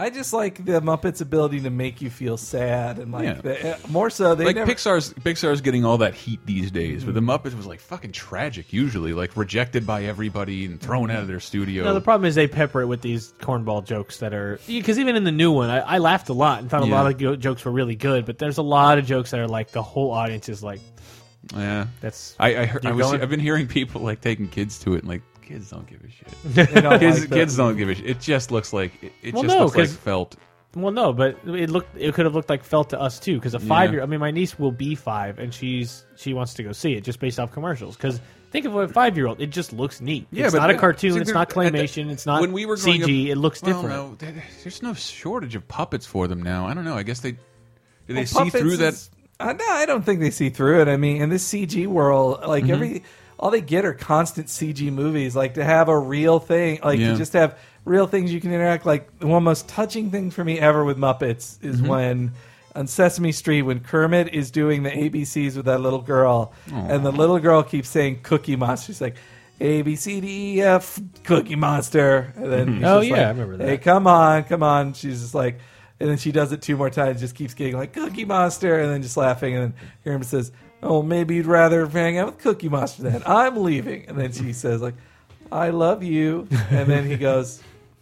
Speaker 5: I just like the Muppets' ability to make you feel sad and like
Speaker 3: Yeah.
Speaker 5: the, uh, more so they
Speaker 3: like
Speaker 5: never, Hmm.
Speaker 3: Pixar's Pixar's getting all that heat these days, but the Muppets was like fucking tragic. Usually, like rejected by everybody and thrown out of their studio.
Speaker 4: No, the problem is they pepper it with these cornball jokes that are because even in the new one, I, I laughed a lot and thought a
Speaker 3: Yeah.
Speaker 4: lot of go- jokes were really good. But there's a lot of jokes that are like the whole audience is like,
Speaker 3: yeah,
Speaker 4: that's
Speaker 3: I, I, heard, I
Speaker 4: You're
Speaker 3: was,
Speaker 4: going?
Speaker 3: I've been hearing people like taking kids to it and like kids don't give a shit.
Speaker 5: they don't
Speaker 3: kids,
Speaker 5: like the-
Speaker 3: kids don't give a shit. It just looks like it, it
Speaker 4: Well,
Speaker 3: just
Speaker 4: no,
Speaker 3: looks like
Speaker 4: 'cause-
Speaker 3: felt.
Speaker 4: well, no, but it looked it could have looked like felt to us too because a five year. I mean, my niece will be five and she's she wants to go see it just based off commercials because. Think of a five-year-old; it just looks neat.
Speaker 3: Yeah,
Speaker 4: it's
Speaker 3: but
Speaker 4: not a
Speaker 3: that-
Speaker 4: cartoon.
Speaker 3: see,
Speaker 4: It's
Speaker 3: there- at
Speaker 4: not
Speaker 3: the-
Speaker 4: claymation. It's not
Speaker 3: when we were growing
Speaker 4: CG.
Speaker 3: up-
Speaker 4: it looks
Speaker 3: well,
Speaker 4: different.
Speaker 3: No, there- there's no shortage of puppets for them now. I don't know. I guess they do they
Speaker 5: Well,
Speaker 3: see
Speaker 5: Puppets
Speaker 3: through that.
Speaker 5: is- Uh, no, I don't think they see through it. I mean, in this CG world, like
Speaker 3: Mm-hmm.
Speaker 5: every all they get are constant CG movies. Like to have a real thing, like
Speaker 3: Yeah.
Speaker 5: to just have real things you can interact. Like the one most touching thing for me ever with Muppets is
Speaker 3: Mm-hmm.
Speaker 5: when. On Sesame Street, when Kermit is doing the ABCs with that little girl, and the little girl keeps saying Cookie Monster. She's like, A, B, C, D, E, F, Cookie Monster. And then
Speaker 3: Mm-hmm.
Speaker 5: he's
Speaker 4: Oh,
Speaker 5: just
Speaker 4: yeah,
Speaker 5: like,
Speaker 4: I remember that.
Speaker 5: "Hey, come on, come on. She's just like, and then she does it two more times, just keeps giggling, like, Cookie Monster, and then just laughing. And then Herman says, Oh, maybe you'd rather hang out with Cookie Monster then. I'm leaving. And then she says, like, I love you. And then he goes,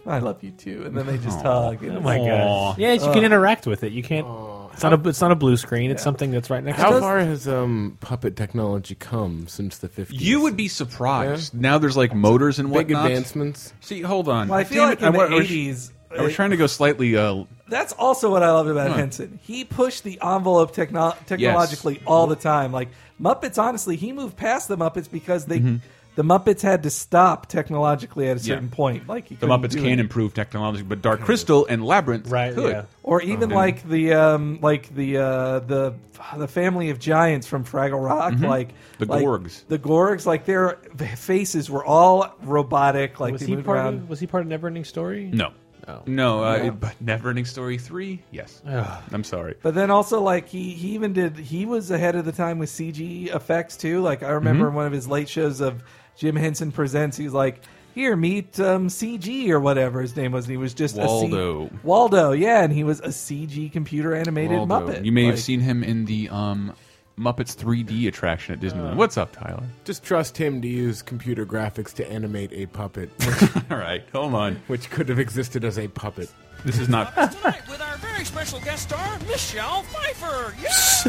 Speaker 5: I love you too. And then they just hug. And
Speaker 4: Oh
Speaker 5: it's-
Speaker 4: my god! Yeah, you can interact with it. You can't. It's not a. It's not a blue screen. It's something that's right next. to
Speaker 6: How
Speaker 4: it.
Speaker 6: far has um, puppet technology come since the 50s?
Speaker 3: You would be surprised. Now there's like motors and
Speaker 6: big
Speaker 3: whatnot.
Speaker 6: advancements.
Speaker 3: See, hold on.
Speaker 5: Well, I feel
Speaker 3: Damn
Speaker 5: like
Speaker 3: it,
Speaker 5: in the
Speaker 3: I, wa- I was-
Speaker 5: 80s.
Speaker 3: I was trying to go slightly. Uh,
Speaker 5: That's also what I loved about
Speaker 3: Huh.
Speaker 5: Henson. He pushed the envelope techno- technologically all the time. Like Muppets, honestly, he moved past the Muppets because they, the Muppets had to stop technologically at a certain
Speaker 3: Mm-hmm. Yeah.
Speaker 5: point. Like he
Speaker 3: the
Speaker 5: couldn't
Speaker 3: Muppets
Speaker 5: do
Speaker 3: can
Speaker 5: it.
Speaker 3: improve technology, but Dark Crystal and Labyrinth
Speaker 4: Right,
Speaker 3: could.
Speaker 4: yeah.
Speaker 5: or
Speaker 3: Oh,
Speaker 5: even like the um, like the uh, the the family of giants from Fraggle Rock, like
Speaker 3: Mm-hmm. The
Speaker 5: like,
Speaker 3: Gorgs.
Speaker 5: the Gorgs, like their faces were all robotic, like
Speaker 4: was
Speaker 5: they
Speaker 4: he
Speaker 5: moved
Speaker 4: part
Speaker 5: around.
Speaker 4: of? Was he part of Neverending Story?
Speaker 3: No. No, uh, but Neverending Story three, yes. I'm sorry.
Speaker 5: But then also like he he even did he was ahead of the time with CG effects too. Like I remember
Speaker 3: Mm-hmm.
Speaker 5: in one of his late shows of Jim Henson presents, he's like, "Here, meet um, CG or whatever his name was." And he was just a
Speaker 3: Waldo.
Speaker 5: C- Waldo, yeah, and he was a CG computer animated
Speaker 3: Waldo.
Speaker 5: Muppet.
Speaker 3: You may have
Speaker 5: Like,
Speaker 3: seen him in the um, Muppets 3D attraction at Disneyland. What's up, Tyler?
Speaker 6: Just trust him to use computer graphics to animate a puppet,
Speaker 3: All right, come on.
Speaker 6: which could have existed as a puppet.
Speaker 3: This is not. uh,
Speaker 8: Tonight with our very very special guest star, Michelle Pfeiffer. Yes.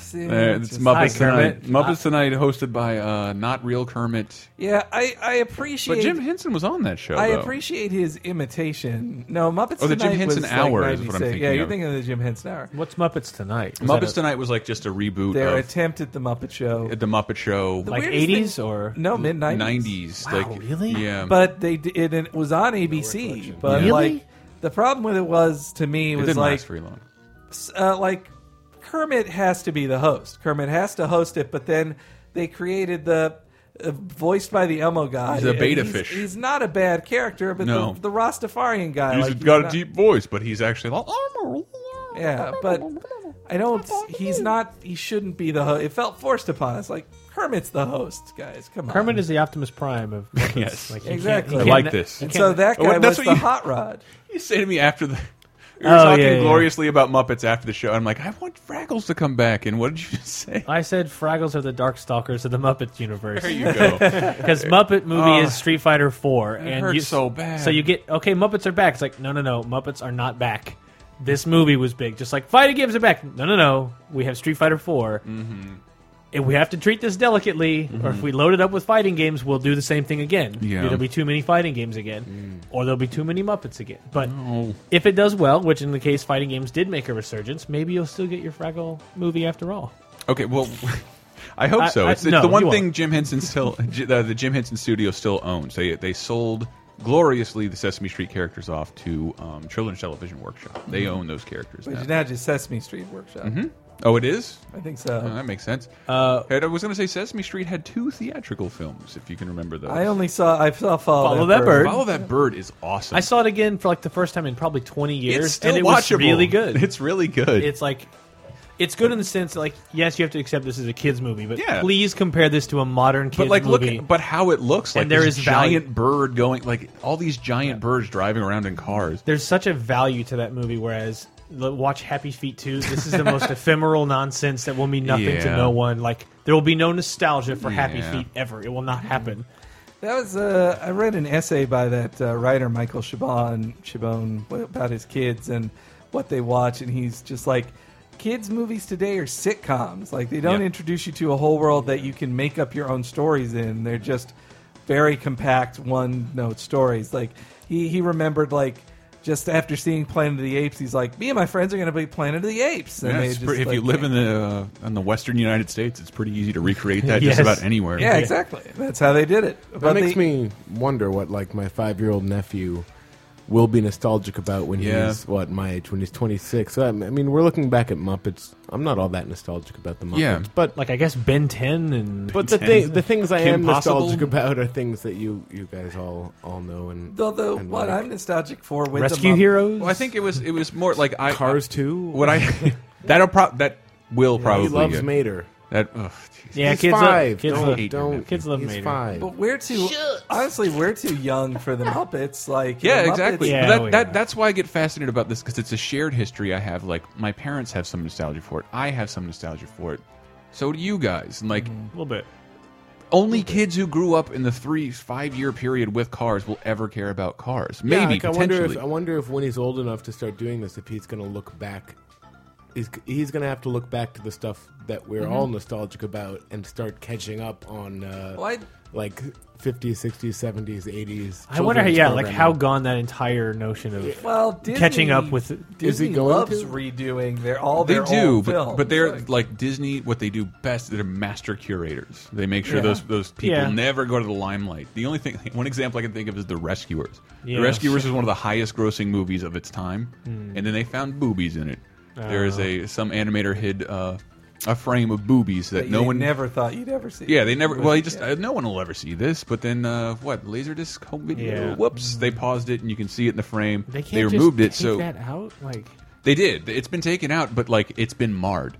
Speaker 5: See,
Speaker 3: Uh, it's
Speaker 5: just-
Speaker 3: Muppets
Speaker 5: Hi,
Speaker 3: Tonight.
Speaker 5: Kermit.
Speaker 3: Muppets Tonight, hosted by uh, not real Kermit.
Speaker 5: Yeah, I, I appreciate.
Speaker 3: But Jim Henson was on that show.
Speaker 5: I
Speaker 3: though.
Speaker 5: appreciate his imitation. No, Muppets.
Speaker 3: Oh, the Jim
Speaker 5: Tonight
Speaker 3: Henson
Speaker 5: was
Speaker 3: Hour
Speaker 5: like
Speaker 3: is what I'm
Speaker 5: 96. Yeah,
Speaker 3: thinking
Speaker 5: you're
Speaker 3: of.
Speaker 5: thinking of the Jim Henson Hour.
Speaker 4: What's Muppets Tonight? Is
Speaker 3: Muppets
Speaker 4: that
Speaker 3: Tonight was like just a reboot
Speaker 5: Their
Speaker 3: of
Speaker 5: attempt at the Muppet Show.
Speaker 3: the Muppet Show,
Speaker 5: The
Speaker 4: a- like
Speaker 5: weirdest
Speaker 4: eighties
Speaker 5: thing-
Speaker 4: or
Speaker 5: no, mid nineties.
Speaker 3: nineties.
Speaker 4: Wow,
Speaker 3: like,
Speaker 4: really?
Speaker 3: Yeah,
Speaker 5: But they d- it, it was on ABC. but
Speaker 4: Really?
Speaker 5: like the problem with it was to me
Speaker 3: it
Speaker 5: was
Speaker 3: didn't
Speaker 5: like
Speaker 3: last very long.
Speaker 5: uh, like Kermit has to be the host. Kermit has to host it, but then they created the uh, voiced by the Elmo guy.
Speaker 3: He's a
Speaker 5: and
Speaker 3: beta
Speaker 5: he's,
Speaker 3: fish.
Speaker 5: He's not a bad character, but
Speaker 3: No.
Speaker 5: the, the Rastafarian guy.
Speaker 3: He's
Speaker 5: like,
Speaker 3: got
Speaker 5: not-
Speaker 3: a deep voice, but he's actually like, "Oh,
Speaker 5: Yeah, but I don't. He's not. He shouldn't be the host. It felt forced upon us. Like Kermit's the host, guys. Come on.
Speaker 4: Kermit is the Optimus Prime of Muppets.
Speaker 3: Yes.
Speaker 4: Like, he can't-
Speaker 5: Exactly.
Speaker 4: he
Speaker 5: I
Speaker 4: can't-
Speaker 3: like this.
Speaker 4: he
Speaker 5: And
Speaker 4: can't-
Speaker 5: so that
Speaker 3: Oh,
Speaker 5: guy
Speaker 3: that's
Speaker 5: was
Speaker 3: what
Speaker 5: the
Speaker 3: you-
Speaker 5: hot rod.
Speaker 3: You say to me after the. You're
Speaker 4: Oh,
Speaker 3: talking
Speaker 4: yeah, yeah.
Speaker 3: gloriously about Muppets after the show. I'm like, I want Fraggles to come back. And what did you just say?
Speaker 4: I said Fraggles are the Darkstalkers of the Muppet universe
Speaker 3: There you go.
Speaker 4: because Muppet movie
Speaker 3: Oh.
Speaker 4: is Street Fighter Four, and
Speaker 3: hurts
Speaker 4: you,
Speaker 3: so bad.
Speaker 4: So you get okay, Muppets are back. It's like no, no, no, Muppets are not back. This movie was big, just like fighting games are back. No, no, no, we have Street Fighter 4
Speaker 3: Mm-hmm.
Speaker 4: And we have to treat this delicately, or if we load it up with fighting games, we'll do the same thing again.
Speaker 3: Yeah. Mm.
Speaker 4: There'll be too many fighting games again, or there'll be too many Muppets again. But
Speaker 3: No.
Speaker 4: if it does well, which in the case fighting games did make a resurgence, maybe you'll still get your Fraggle movie after all.
Speaker 3: Okay, well, I hope
Speaker 4: I-
Speaker 3: so.
Speaker 4: I-
Speaker 3: It's, it's
Speaker 4: no,
Speaker 3: the one
Speaker 4: you
Speaker 3: thing
Speaker 4: won't.
Speaker 3: Jim Henson still, J- uh, the Jim Henson Studio still owns. They they sold gloriously the Sesame Street characters off to um, Children's Television Workshop. They
Speaker 4: Mm-hmm.
Speaker 3: own those characters
Speaker 5: Which
Speaker 3: now.
Speaker 5: is now just Sesame Street Workshop.
Speaker 3: Oh, it is.
Speaker 5: I think so.
Speaker 3: Oh, that makes sense. Uh, I was going to say Sesame Street had two theatrical films, if you can remember those.
Speaker 5: I only saw. I saw Follow,
Speaker 4: Follow That Bird.
Speaker 3: Follow That Bird is awesome.
Speaker 4: I saw it again for like the first time in probably 20 years,
Speaker 3: it's still
Speaker 4: and it
Speaker 3: watchable.
Speaker 4: was really good. It's,
Speaker 3: It's really good.
Speaker 4: like, it's good in the sense that, like, yes, you have to accept this is a kids movie, but
Speaker 3: Yeah.
Speaker 4: please compare this to a modern kids
Speaker 3: but like, look,
Speaker 4: movie.
Speaker 3: at- but how it looks like
Speaker 4: And there
Speaker 3: this
Speaker 4: is value.
Speaker 3: giant bird going, like all these giant birds driving around in cars.
Speaker 4: There's such a value to that movie, whereas l- watch Happy Feet 2. This is the most ephemeral nonsense that will mean nothing
Speaker 3: Yeah.
Speaker 4: to no one. Like, there will be no nostalgia for Happy
Speaker 3: Yeah.
Speaker 4: Feet ever. It will not happen.
Speaker 5: That was uh, I read an essay by that uh, writer Michael Chabon Chabon wh- about his kids and what they watch, and he's just like, kids' movies today are sitcoms. Like they don't
Speaker 3: Yeah.
Speaker 5: introduce you to a whole world that you can make up your own stories in. They're just very compact one note stories. Like he he remembered like. Just after seeing Planet of the Apes, he's like, "Me and my friends are going to be Planet of the Apes." And
Speaker 3: Yeah,
Speaker 5: they
Speaker 3: it's
Speaker 5: just,
Speaker 3: pretty- if
Speaker 5: like,
Speaker 3: you live in the uh, in the Western United States, it's pretty easy to recreate that
Speaker 4: Yes.
Speaker 3: just about anywhere.
Speaker 5: yeah, exactly. That's how they did it.
Speaker 6: That makes me wonder what like my five year old nephew will be nostalgic about when
Speaker 3: Yeah.
Speaker 6: he's what my age when he's twenty six. I mean, we're looking back at Muppets. I'm not all that nostalgic about the Muppets,
Speaker 3: Yeah.
Speaker 6: but
Speaker 4: Like, I guess Ben 10 and.
Speaker 6: but the
Speaker 3: Ben
Speaker 6: thing
Speaker 3: 10.
Speaker 6: the things I
Speaker 3: Kim
Speaker 6: am
Speaker 3: Possible.
Speaker 6: nostalgic about are things that you you guys all all know and
Speaker 5: Although
Speaker 6: and
Speaker 5: what
Speaker 6: like.
Speaker 5: I'm nostalgic for with the
Speaker 4: Rescue
Speaker 5: Mupp-
Speaker 4: Heroes?
Speaker 3: Well, I think it was it was more like I,
Speaker 6: Cars
Speaker 3: I-
Speaker 6: too.
Speaker 3: What I that'll pro that will probably
Speaker 6: he loves
Speaker 3: get-
Speaker 6: Mater.
Speaker 3: That oh, jeez.
Speaker 4: yeah,
Speaker 6: he's
Speaker 4: kids
Speaker 6: five.
Speaker 4: Love, kids
Speaker 6: don't,
Speaker 4: love,
Speaker 6: don't-
Speaker 4: kids love
Speaker 6: he's
Speaker 4: Mater.
Speaker 6: Five.
Speaker 5: But we're too honestly, we're too young for the Muppets. Like,
Speaker 3: Yeah,
Speaker 5: the Muppets-
Speaker 3: exactly.
Speaker 4: Yeah,
Speaker 3: But that,
Speaker 6: Oh,
Speaker 4: we
Speaker 3: that
Speaker 4: are.
Speaker 3: that's why I get fascinated about this because it's a shared history I have. Like my parents have some nostalgia for it. I have some nostalgia for it. So do you guys. And like
Speaker 6: Mm-hmm.
Speaker 4: A little bit.
Speaker 3: only kids who grew up in the three five year period with cars will ever care about cars. Maybe
Speaker 6: Yeah, like, I
Speaker 3: potentially.
Speaker 6: wonder if I wonder if when he's old enough to start doing this, if he's going to look back. He's, he's going to have to look back to the stuff that we're all nostalgic about and start catching up on, uh,
Speaker 5: Well, I-
Speaker 6: like 50s, 60s, 70s, 80s.
Speaker 4: I wonder, how,
Speaker 6: children's
Speaker 4: yeah, like
Speaker 6: programming.
Speaker 4: how gone that entire notion of
Speaker 5: Well, Disney,
Speaker 4: Catching up with-
Speaker 5: Disney
Speaker 6: Is he going
Speaker 5: loves
Speaker 6: to?
Speaker 5: redoing their all
Speaker 3: they
Speaker 5: their
Speaker 3: do,
Speaker 5: old
Speaker 3: but,
Speaker 5: films.
Speaker 3: but they're like,
Speaker 5: Like,
Speaker 3: Disney. What they do best, they're master curators. They make sure
Speaker 5: Yeah.
Speaker 3: those those people
Speaker 4: Yeah.
Speaker 3: never go to the limelight. The only thing, one example I can think of is The Rescuers.
Speaker 4: Yeah.
Speaker 3: The Rescuers is one of the highest grossing movies of its time,
Speaker 4: Hmm.
Speaker 3: and then they found boobies in it. There is
Speaker 4: Oh.
Speaker 3: a some animator hid uh, a frame of boobies that,
Speaker 5: that
Speaker 3: no
Speaker 5: you
Speaker 3: one
Speaker 5: never thought you'd ever see.
Speaker 3: Yeah, they never. Well, you just
Speaker 5: Yeah.
Speaker 3: uh, no one will ever see this. But then, uh, what laserdisc home video?
Speaker 4: Yeah. Hmm.
Speaker 3: Whoops! They paused it, and you can see it in the frame.
Speaker 4: they can't just
Speaker 3: removed it,
Speaker 4: take
Speaker 3: so
Speaker 4: that out. Like
Speaker 3: they did. It's been taken out, but like it's been marred.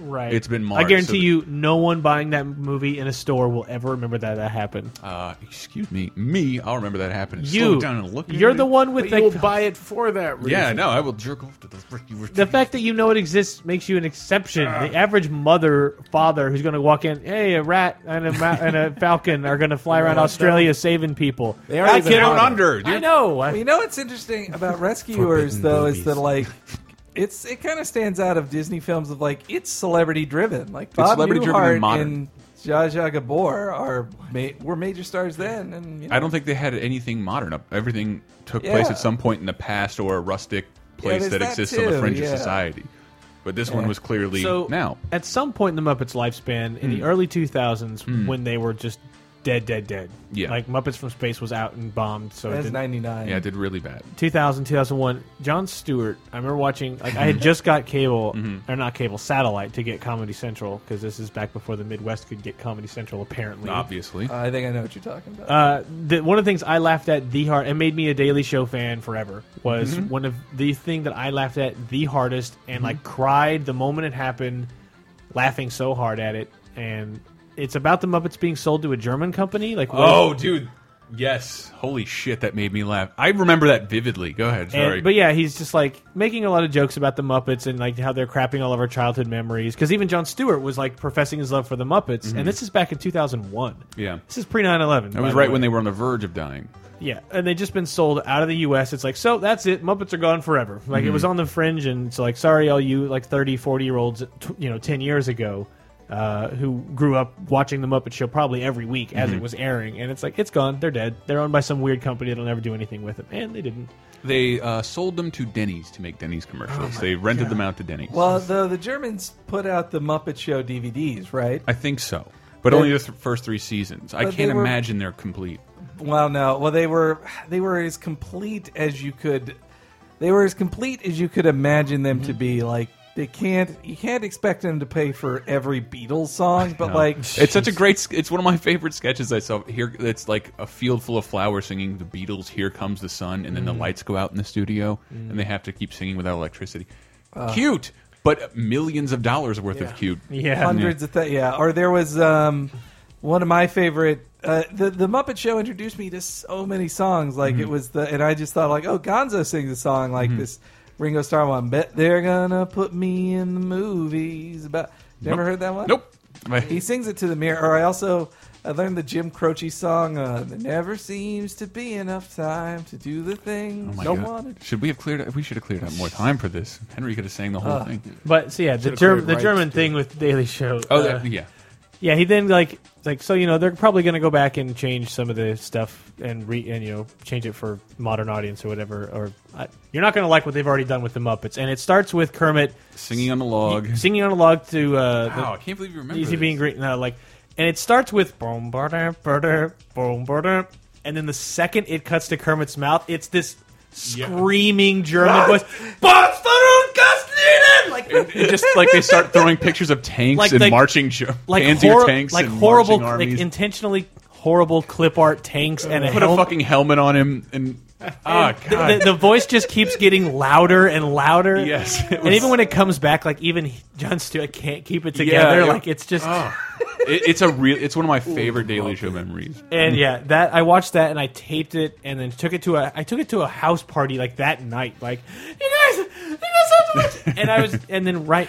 Speaker 4: Right.
Speaker 3: It's been
Speaker 4: I
Speaker 3: marred,
Speaker 4: guarantee
Speaker 3: so-
Speaker 4: you, no one buying that movie in a store will ever remember that that happened.
Speaker 3: Uh, excuse me, me. I'll remember that happened.
Speaker 4: you,
Speaker 3: Slow down and look. at
Speaker 4: you're
Speaker 3: it.
Speaker 4: the one with
Speaker 6: But you will
Speaker 4: the,
Speaker 6: buy it for that reason.
Speaker 3: Yeah, no, I will jerk off to the freaking.
Speaker 4: the fact that you know it exists makes you an exception.
Speaker 6: Ah.
Speaker 4: the average mother, father, who's going to walk in, hey, a rat and a ma- and a falcon are going to fly around Australia saving people.
Speaker 6: They aren't even
Speaker 3: down
Speaker 6: on it.
Speaker 3: under.
Speaker 4: I
Speaker 3: dude.
Speaker 4: know. I-
Speaker 5: Well, you know what's interesting about Rescuers though is
Speaker 6: boobies.
Speaker 5: that like it's it kind of stands out of Disney films of like it's celebrity driven. Like Bob
Speaker 3: celebrity-driven and
Speaker 5: Newhart
Speaker 3: modern.
Speaker 5: and Zsa Zsa Gabor are ma- were major stars then, and you know,
Speaker 3: I don't think they had anything modern up. Everything took place
Speaker 5: Yeah.
Speaker 3: at some point in the past or a rustic place
Speaker 5: there's
Speaker 3: that,
Speaker 5: that
Speaker 3: exists on the
Speaker 5: too,
Speaker 3: fringe
Speaker 5: yeah.
Speaker 3: of society. But this one was clearly
Speaker 4: So
Speaker 3: now. Hmm.
Speaker 4: at some point in the Muppets lifespan, in the early 2000s, when they were just dead, dead, dead.
Speaker 3: Yeah.
Speaker 4: Like Muppets from Space was out and bombed, so it
Speaker 5: that's
Speaker 4: didn't-
Speaker 5: ninety nine.
Speaker 3: Yeah, it did really bad.
Speaker 4: 2000, 2001, John Stewart. I remember watching. Like, I had just got cable, or not cable, satellite to get Comedy Central because this is back before the Midwest could get Comedy Central. Apparently,
Speaker 3: Obviously,
Speaker 5: I think I know what you're talking about.
Speaker 4: uh, the, one of the things I laughed at the hard and made me a Daily Show fan forever was one of the thing that I laughed at the hardest and like cried the moment it happened, laughing so hard at it. And it's about the Muppets being sold to a German company. Like, what-
Speaker 3: Oh, dude. Yes. Holy shit, that made me laugh. I remember that vividly. Go ahead.
Speaker 4: And-
Speaker 3: Sorry.
Speaker 4: but yeah, he's just like making a lot of jokes about the Muppets and like how they're crapping all of our childhood memories. Because even John Stewart was like professing his love for the Muppets, and this is back in 2001.
Speaker 3: Mm-hmm. Yeah.
Speaker 4: this is pre 9 11.
Speaker 3: that was right when they were on the verge of dying.
Speaker 4: yeah, and they just been sold out of the U.S. It's like so that's it. Muppets are gone forever. Like it
Speaker 3: Mm-hmm.
Speaker 4: was on the fringe, and it's like sorry, all you like 30, 40 year olds, tw- you know, 10 years ago. Uh, who grew up watching the Muppet Show probably every week as
Speaker 3: Mm-hmm.
Speaker 4: it was airing, and it's like it's gone, they're dead, they're owned by some weird company that'll never do anything with it, and they didn't.
Speaker 3: They uh, sold them to Denny's to make Denny's commercials. they rented them out to Denny's.
Speaker 5: Oh well, though the Germans put out the Muppet Show DVDs, right?
Speaker 3: I think so. But
Speaker 5: They-
Speaker 3: only the th first three seasons. I
Speaker 5: But they
Speaker 3: can't
Speaker 5: were-
Speaker 3: imagine they're complete.
Speaker 5: Well, no. Well, they were they were as complete as you could. They were as complete as you could imagine them
Speaker 3: Mm-hmm.
Speaker 5: to be. Like they can't you can't expect them to pay for every Beatles song, but like
Speaker 3: It's such a great. sk- It's one of my favorite sketches I saw. Here, it's like a field full of flowers singing the Beatles. Here comes the sun, and then
Speaker 5: Mm.
Speaker 3: the lights go out in the studio, and they have to keep singing without electricity.
Speaker 5: Uh.
Speaker 3: cute, but millions of dollars worth of cute.
Speaker 4: Yeah,
Speaker 5: hundreds of th- yeah. Or there was um, one of my favorite. Uh, the The Muppet Show introduced me to so many songs. Like
Speaker 3: Mm-hmm.
Speaker 5: it was the, and I just thought like, oh, Gonzo sings a song like this. Ringo Starr one. Bet they're gonna put me in the movies. About never
Speaker 3: Nope.
Speaker 5: heard that one.
Speaker 3: Nope.
Speaker 5: He sings it to the mirror. Or I also I learned the Jim Croce song. Uh, there never seems to be enough time to do the
Speaker 3: Oh
Speaker 5: things
Speaker 3: my
Speaker 5: you
Speaker 3: God.
Speaker 5: wanted.
Speaker 3: Should we have cleared? up- We should have cleared out more time for this. Henry could have sang the whole
Speaker 5: Uh.
Speaker 3: thing.
Speaker 4: But so yeah, the
Speaker 6: Should've
Speaker 4: Germ-
Speaker 6: cleared
Speaker 4: the
Speaker 6: rights,
Speaker 4: German
Speaker 6: too.
Speaker 4: thing with Daily Show.
Speaker 3: Oh,
Speaker 4: uh,
Speaker 3: that, yeah.
Speaker 4: yeah. He then like like so you know they're probably going to go back and change some of the stuff and re and you know change it for modern audience or whatever. Or I, you're not going to like what they've already done with the Muppets. And it starts with Kermit
Speaker 3: Singing on the log.
Speaker 4: singing on a log to uh, the-
Speaker 3: wow, I can't believe you remember.
Speaker 4: Easy
Speaker 3: this.
Speaker 4: being great. No, like, and it starts with boom, ba-da, ba-da, boom, ba-da, and then the second it cuts to Kermit's mouth, it's this screaming German voice. "Bombs for Ungaslinen!" Like,
Speaker 3: It just like they start throwing pictures of tanks
Speaker 4: Like
Speaker 3: and
Speaker 4: the-
Speaker 3: marching jo-
Speaker 4: like
Speaker 3: Panzer
Speaker 4: hor-
Speaker 3: tanks,
Speaker 4: like
Speaker 3: and
Speaker 4: horrible,
Speaker 3: marching
Speaker 4: like
Speaker 3: armies.
Speaker 4: intentionally horrible clip art tanks and a
Speaker 3: Put a
Speaker 4: helmet.
Speaker 3: fucking helmet on him and ah
Speaker 4: the,
Speaker 3: god.
Speaker 4: the- the voice just keeps getting louder and louder.
Speaker 3: Yes, it
Speaker 4: and
Speaker 3: was-
Speaker 4: even when it comes back, like even he- John Stewart can't keep it together.
Speaker 3: it-
Speaker 4: like it's just
Speaker 3: Ah. It- it's a real. It's one of my favorite Daily Show memories.
Speaker 4: And yeah, that I watched that and I taped it and then took it to a I took it to a house party like that night. Like you guys, you guys have to watch-" and I was and then right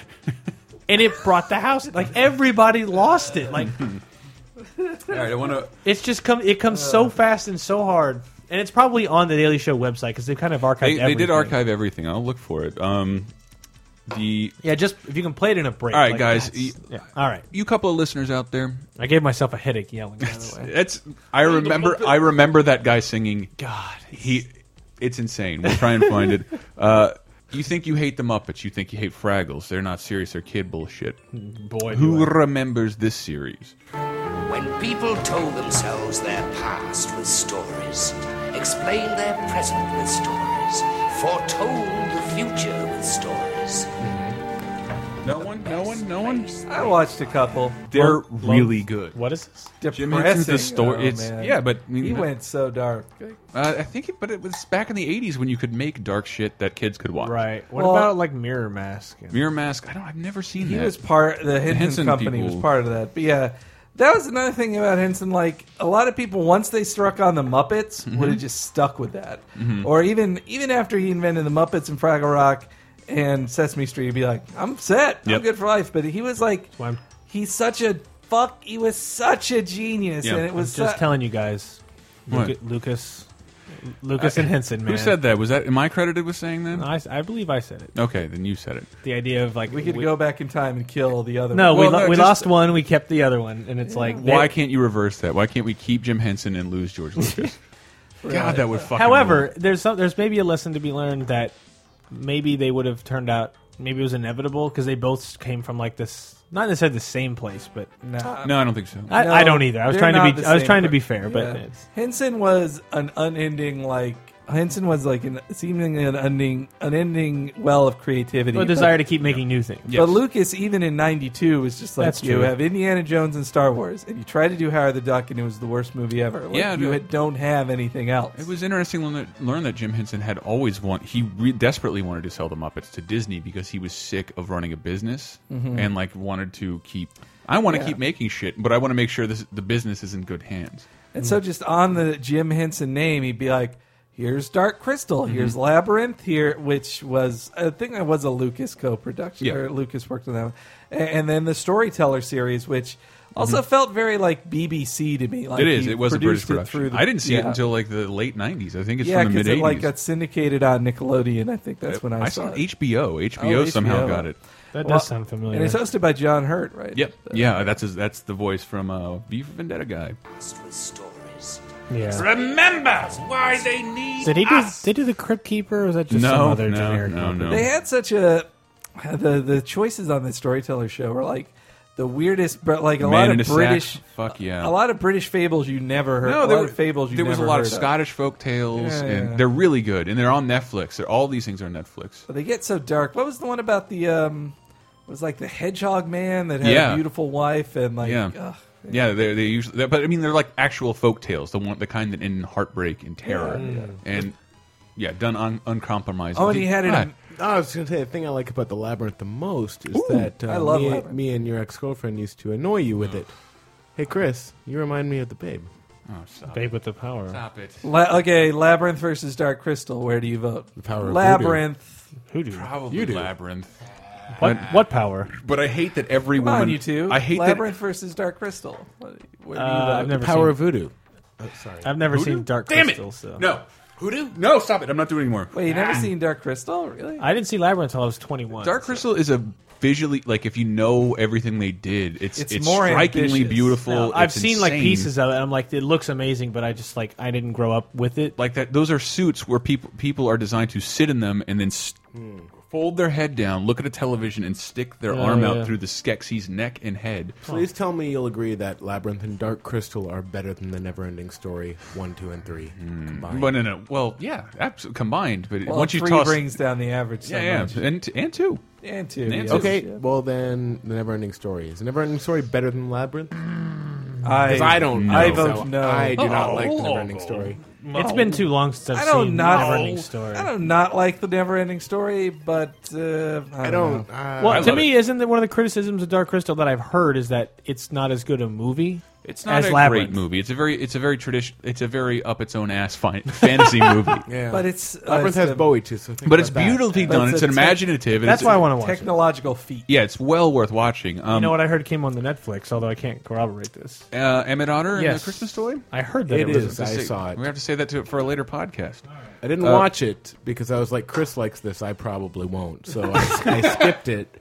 Speaker 4: and it brought the house like everybody lost it. Like
Speaker 3: All right, I want to.
Speaker 4: it's just come it comes so fast and so hard. And it's probably on the Daily Show website because they've kind of archived.
Speaker 3: They, they
Speaker 4: everything.
Speaker 3: did archive everything. I'll look for it. Um, the
Speaker 4: Yeah, just if you can play it in a break.
Speaker 3: All right,
Speaker 4: like,
Speaker 3: guys,
Speaker 4: that's-
Speaker 3: y-
Speaker 4: yeah. All right,
Speaker 3: you couple of listeners out there,
Speaker 4: I gave myself a headache yelling. By the way.
Speaker 3: that's I remember. I remember that guy singing. God, he. It's insane. We'll try and find it. Uh, you think you hate the Muppets. You think you hate Fraggles. They're not serious. They're kid bullshit.
Speaker 4: Boy,
Speaker 3: Who
Speaker 4: do I-
Speaker 3: remembers this series?
Speaker 9: When people told themselves their past with stories, explained their present with stories, foretold the future with stories,
Speaker 3: No one. No one. No one.
Speaker 5: I watched a couple.
Speaker 3: They're
Speaker 5: What-
Speaker 3: really good.
Speaker 4: What is this?
Speaker 3: Jim Henson's the
Speaker 5: Depressing.
Speaker 3: story.
Speaker 5: Oh,
Speaker 3: it's
Speaker 5: man.
Speaker 3: yeah, but I mean,
Speaker 5: he went so dark.
Speaker 3: Uh, I think, it, but it was back in the '80s when you could make dark shit that kids could watch.
Speaker 4: Right. What
Speaker 5: Well-
Speaker 4: about like Mirror Mask? and-
Speaker 3: Mirror Mask. I don't. I've never seen
Speaker 5: He
Speaker 3: that.
Speaker 5: was part. The Henson,
Speaker 3: Henson
Speaker 5: company
Speaker 3: people-
Speaker 5: was part of that. But yeah, that was another thing about Henson. Like a lot of people, once they struck on the Muppets,
Speaker 3: Mm-hmm.
Speaker 5: would have just stuck with that. Or even even after he invented the Muppets and Fraggle Rock and Sesame Street, he'd be like, "I'm set.
Speaker 3: Yep.
Speaker 5: I'm good for life." But he was like,
Speaker 4: why I'm-
Speaker 5: he's such a fuck. He was such a genius,
Speaker 3: Yeah.
Speaker 5: and it
Speaker 3: I'm
Speaker 5: was
Speaker 4: Just
Speaker 5: su-
Speaker 4: telling you guys, Luca-
Speaker 3: What?
Speaker 4: Lucas, Lucas and Henson. Man.
Speaker 3: Who said that? Was that? Am I credited with saying that?
Speaker 4: I, I believe I said it.
Speaker 3: Okay, then you said it.
Speaker 4: The idea of like
Speaker 5: we could go back in time and kill the other.
Speaker 4: No,
Speaker 5: one.
Speaker 4: we,
Speaker 3: Well,
Speaker 4: lo-
Speaker 3: no,
Speaker 4: we
Speaker 3: just-
Speaker 4: lost one. We kept the other one, and it's like
Speaker 3: Why
Speaker 4: they-
Speaker 3: can't you reverse that? Why can't we keep Jim Henson and lose George Lucas? God, that would fucking.
Speaker 4: However,
Speaker 3: rule.
Speaker 4: there's some, there's maybe a lesson to be learned that maybe they would have turned out. Maybe it was inevitable because they both came from like this, not necessarily the same place, but
Speaker 3: no, I don't think so.
Speaker 4: I,
Speaker 5: No,
Speaker 4: I don't either. I was
Speaker 5: they're
Speaker 4: trying to
Speaker 5: not
Speaker 4: be
Speaker 5: the
Speaker 4: I was
Speaker 5: same
Speaker 4: trying to
Speaker 5: per-
Speaker 4: be fair, but
Speaker 5: Yeah.
Speaker 4: it's,
Speaker 5: Henson was an unending like Henson was like an seemingly an unending unending well of creativity.
Speaker 4: a
Speaker 5: but-
Speaker 4: desire to keep making new things.
Speaker 5: But Lucas, even in '92, was just like
Speaker 4: That's
Speaker 5: you
Speaker 4: true.
Speaker 5: have Indiana Jones and Star Wars, and you try to do Howard the Duck, and it was the worst movie ever. Like,
Speaker 3: Yeah,
Speaker 5: you
Speaker 3: no.
Speaker 5: had- don't have anything else.
Speaker 3: It was interesting to learn- learn that Jim Henson had always want he re desperately wanted to sell the Muppets to Disney because he was sick of running a business
Speaker 5: Mm-hmm.
Speaker 3: and like wanted to keep. I want to keep making shit, but I want to make sure this the business is in good hands.
Speaker 5: and so, just on the Jim Henson name, he'd be like, "Here's Dark Crystal,
Speaker 3: Mm-hmm.
Speaker 5: here's Labyrinth, here," which was I think that was a Lucas co-production,
Speaker 3: Yeah.
Speaker 5: or Lucas worked on that, one. A- and, then the Storyteller series, which also felt very like BBC to me. Like
Speaker 3: Mm-hmm. it is.
Speaker 5: he
Speaker 3: It was a British
Speaker 5: produced
Speaker 3: production.
Speaker 5: through the-
Speaker 3: I didn't see it
Speaker 5: Yeah.
Speaker 3: until like the late '90s. I think it's
Speaker 5: yeah,
Speaker 3: from the mid
Speaker 5: because
Speaker 3: '80s.
Speaker 5: it like got syndicated on Nickelodeon. I think that's when I,
Speaker 3: I saw it
Speaker 5: saw it.
Speaker 3: on HBO. HBO
Speaker 5: Oh,
Speaker 3: somehow
Speaker 5: HBO.
Speaker 3: got it.
Speaker 4: That
Speaker 5: Well,
Speaker 4: does sound familiar.
Speaker 5: And it's hosted by John Hurt, right?
Speaker 3: Yep. Yeah, that's his, that's the voice from uh, V for Vendetta guy.
Speaker 9: Past with stories.
Speaker 4: yeah.
Speaker 9: Remember why they need
Speaker 4: Did he do? They do the Crypt Keeper? Or was that just some
Speaker 3: No,
Speaker 4: other
Speaker 3: no,
Speaker 4: generic?
Speaker 3: no,
Speaker 4: movie?
Speaker 3: no.
Speaker 5: They had such a the the choices on the storyteller show were like the weirdest, but like a
Speaker 3: Man
Speaker 5: lot
Speaker 3: in a
Speaker 5: of
Speaker 3: sack.
Speaker 5: British,
Speaker 3: Fuck yeah.
Speaker 5: a lot of British fables you never heard.
Speaker 3: No,
Speaker 5: a
Speaker 3: there
Speaker 5: lot
Speaker 3: were
Speaker 5: of fables you
Speaker 3: There was a
Speaker 5: never
Speaker 3: lot of
Speaker 5: heard
Speaker 3: Scottish folk tales,
Speaker 5: Yeah,
Speaker 3: and
Speaker 5: yeah.
Speaker 3: they're really good. And they're on Netflix. They're, all these things are on Netflix.
Speaker 5: But they get so dark. What was the one about the um? It was like the hedgehog man that had
Speaker 3: Yeah.
Speaker 5: a beautiful wife and like
Speaker 3: Yeah.
Speaker 5: ugh.
Speaker 3: Yeah, they they usually, they're, but I mean, they're like actual folk tales. The one, the kind that end in heartbreak and terror, and yeah, done un, uncompromising.
Speaker 5: Oh, and he had it.
Speaker 3: Right.
Speaker 5: in-
Speaker 6: I was going to say the thing I like about the labyrinth the most is
Speaker 5: Ooh,
Speaker 6: that uh,
Speaker 5: I love
Speaker 6: me,
Speaker 5: Labyrinth.
Speaker 6: me and your ex girlfriend used to annoy you with it. Hey Chris, you remind me of the babe.
Speaker 3: Oh, stop,
Speaker 4: Babe with the power.
Speaker 3: stop it.
Speaker 5: La- okay, Labyrinth versus Dark Crystal. Where do you vote? The
Speaker 6: power of
Speaker 5: Labyrinth.
Speaker 4: Who do?
Speaker 3: Probably labyrinth.
Speaker 4: What, what power?
Speaker 3: But I hate that every
Speaker 5: Come
Speaker 3: woman.
Speaker 5: on, you two.
Speaker 3: I hate
Speaker 5: Labyrinth versus Dark Crystal. What- Where do you
Speaker 4: Uh,
Speaker 5: vote?
Speaker 4: I've never
Speaker 6: Power
Speaker 4: seen.
Speaker 6: of voodoo.
Speaker 4: I've never
Speaker 3: Voodoo?
Speaker 4: seen Dark
Speaker 3: Damn
Speaker 4: Crystal.
Speaker 3: it!
Speaker 4: So.
Speaker 3: that. No, hoodoo. No, stop it. I'm not doing it anymore. Ah.
Speaker 5: Wait, you never seen Dark Crystal? Really?
Speaker 4: I didn't see Labyrinth until I was 21.
Speaker 3: Dark Crystal is a visually like if you know everything they did, it's it's,
Speaker 5: It's more
Speaker 3: strikingly
Speaker 5: ambitious.
Speaker 3: beautiful.
Speaker 4: No, I've
Speaker 3: it's
Speaker 4: seen like
Speaker 3: insane.
Speaker 4: pieces of it. and I'm like, it looks amazing, but I just like I didn't grow up with it.
Speaker 3: like that. Those are suits where people people are designed to sit in them and then st fold their head down, look at a television, and stick their arm
Speaker 4: yeah.
Speaker 3: out through the Skeksis' neck and head.
Speaker 6: Please tell me you'll agree that Labyrinth and Dark Crystal are better than the Neverending Story one, two, and three combined.
Speaker 3: But no, no. Well, yeah, abs combined. But
Speaker 5: Well,
Speaker 3: once you
Speaker 5: three
Speaker 3: toss,
Speaker 5: brings down the average. So
Speaker 3: yeah,
Speaker 5: much.
Speaker 3: yeah, and and two.
Speaker 5: and two.
Speaker 3: And
Speaker 5: yes.
Speaker 3: two.
Speaker 6: okay, well then, the Neverending Story is the Neverending Story better than Labyrinth?
Speaker 5: I,
Speaker 6: I don't.
Speaker 5: I
Speaker 6: know,
Speaker 5: vote
Speaker 6: so
Speaker 5: no.
Speaker 6: I do not
Speaker 3: Oh,
Speaker 6: like the Neverending
Speaker 3: oh.
Speaker 6: Story.
Speaker 4: It's been too long since I've
Speaker 5: I don't
Speaker 4: seen
Speaker 5: not.
Speaker 4: Neverending Story.
Speaker 5: I don't not like the never ending story, but uh, I,
Speaker 6: I
Speaker 5: don't.
Speaker 6: don't.
Speaker 5: know.
Speaker 6: Uh,
Speaker 4: well, to
Speaker 3: love
Speaker 4: me, is isn't that one of the criticisms of Dark Crystal that I've heard is that it's not as good a movie.
Speaker 3: It's not
Speaker 4: as
Speaker 3: a
Speaker 4: Labyrinth.
Speaker 3: great movie. It's a very it's a very tradition. It's a very up its own ass fi- fantasy movie.
Speaker 6: yeah.
Speaker 5: But it's uh,
Speaker 6: Labyrinth has
Speaker 5: a
Speaker 6: Bowie too, so think
Speaker 3: But
Speaker 6: about
Speaker 3: it's
Speaker 6: that.
Speaker 3: beautifully done.
Speaker 5: That's
Speaker 3: It's
Speaker 5: a
Speaker 3: an
Speaker 5: tech-
Speaker 3: imaginative. and
Speaker 4: That's
Speaker 3: it's-
Speaker 4: why I want to watch it.
Speaker 5: technological feat.
Speaker 3: Yeah, it's well worth watching. Um,
Speaker 4: You know what I heard came on the Netflix, although I can't corroborate this.
Speaker 3: uh, Emmett Otter and
Speaker 4: Yes.
Speaker 3: the Christmas Toy.
Speaker 4: I heard that
Speaker 6: It
Speaker 4: it, was
Speaker 6: is. I
Speaker 3: Say-
Speaker 6: saw it.
Speaker 3: We have to say that to for a later podcast.
Speaker 6: I didn't watch it because I was like, Chris likes this. I probably won't. So I, I skipped it.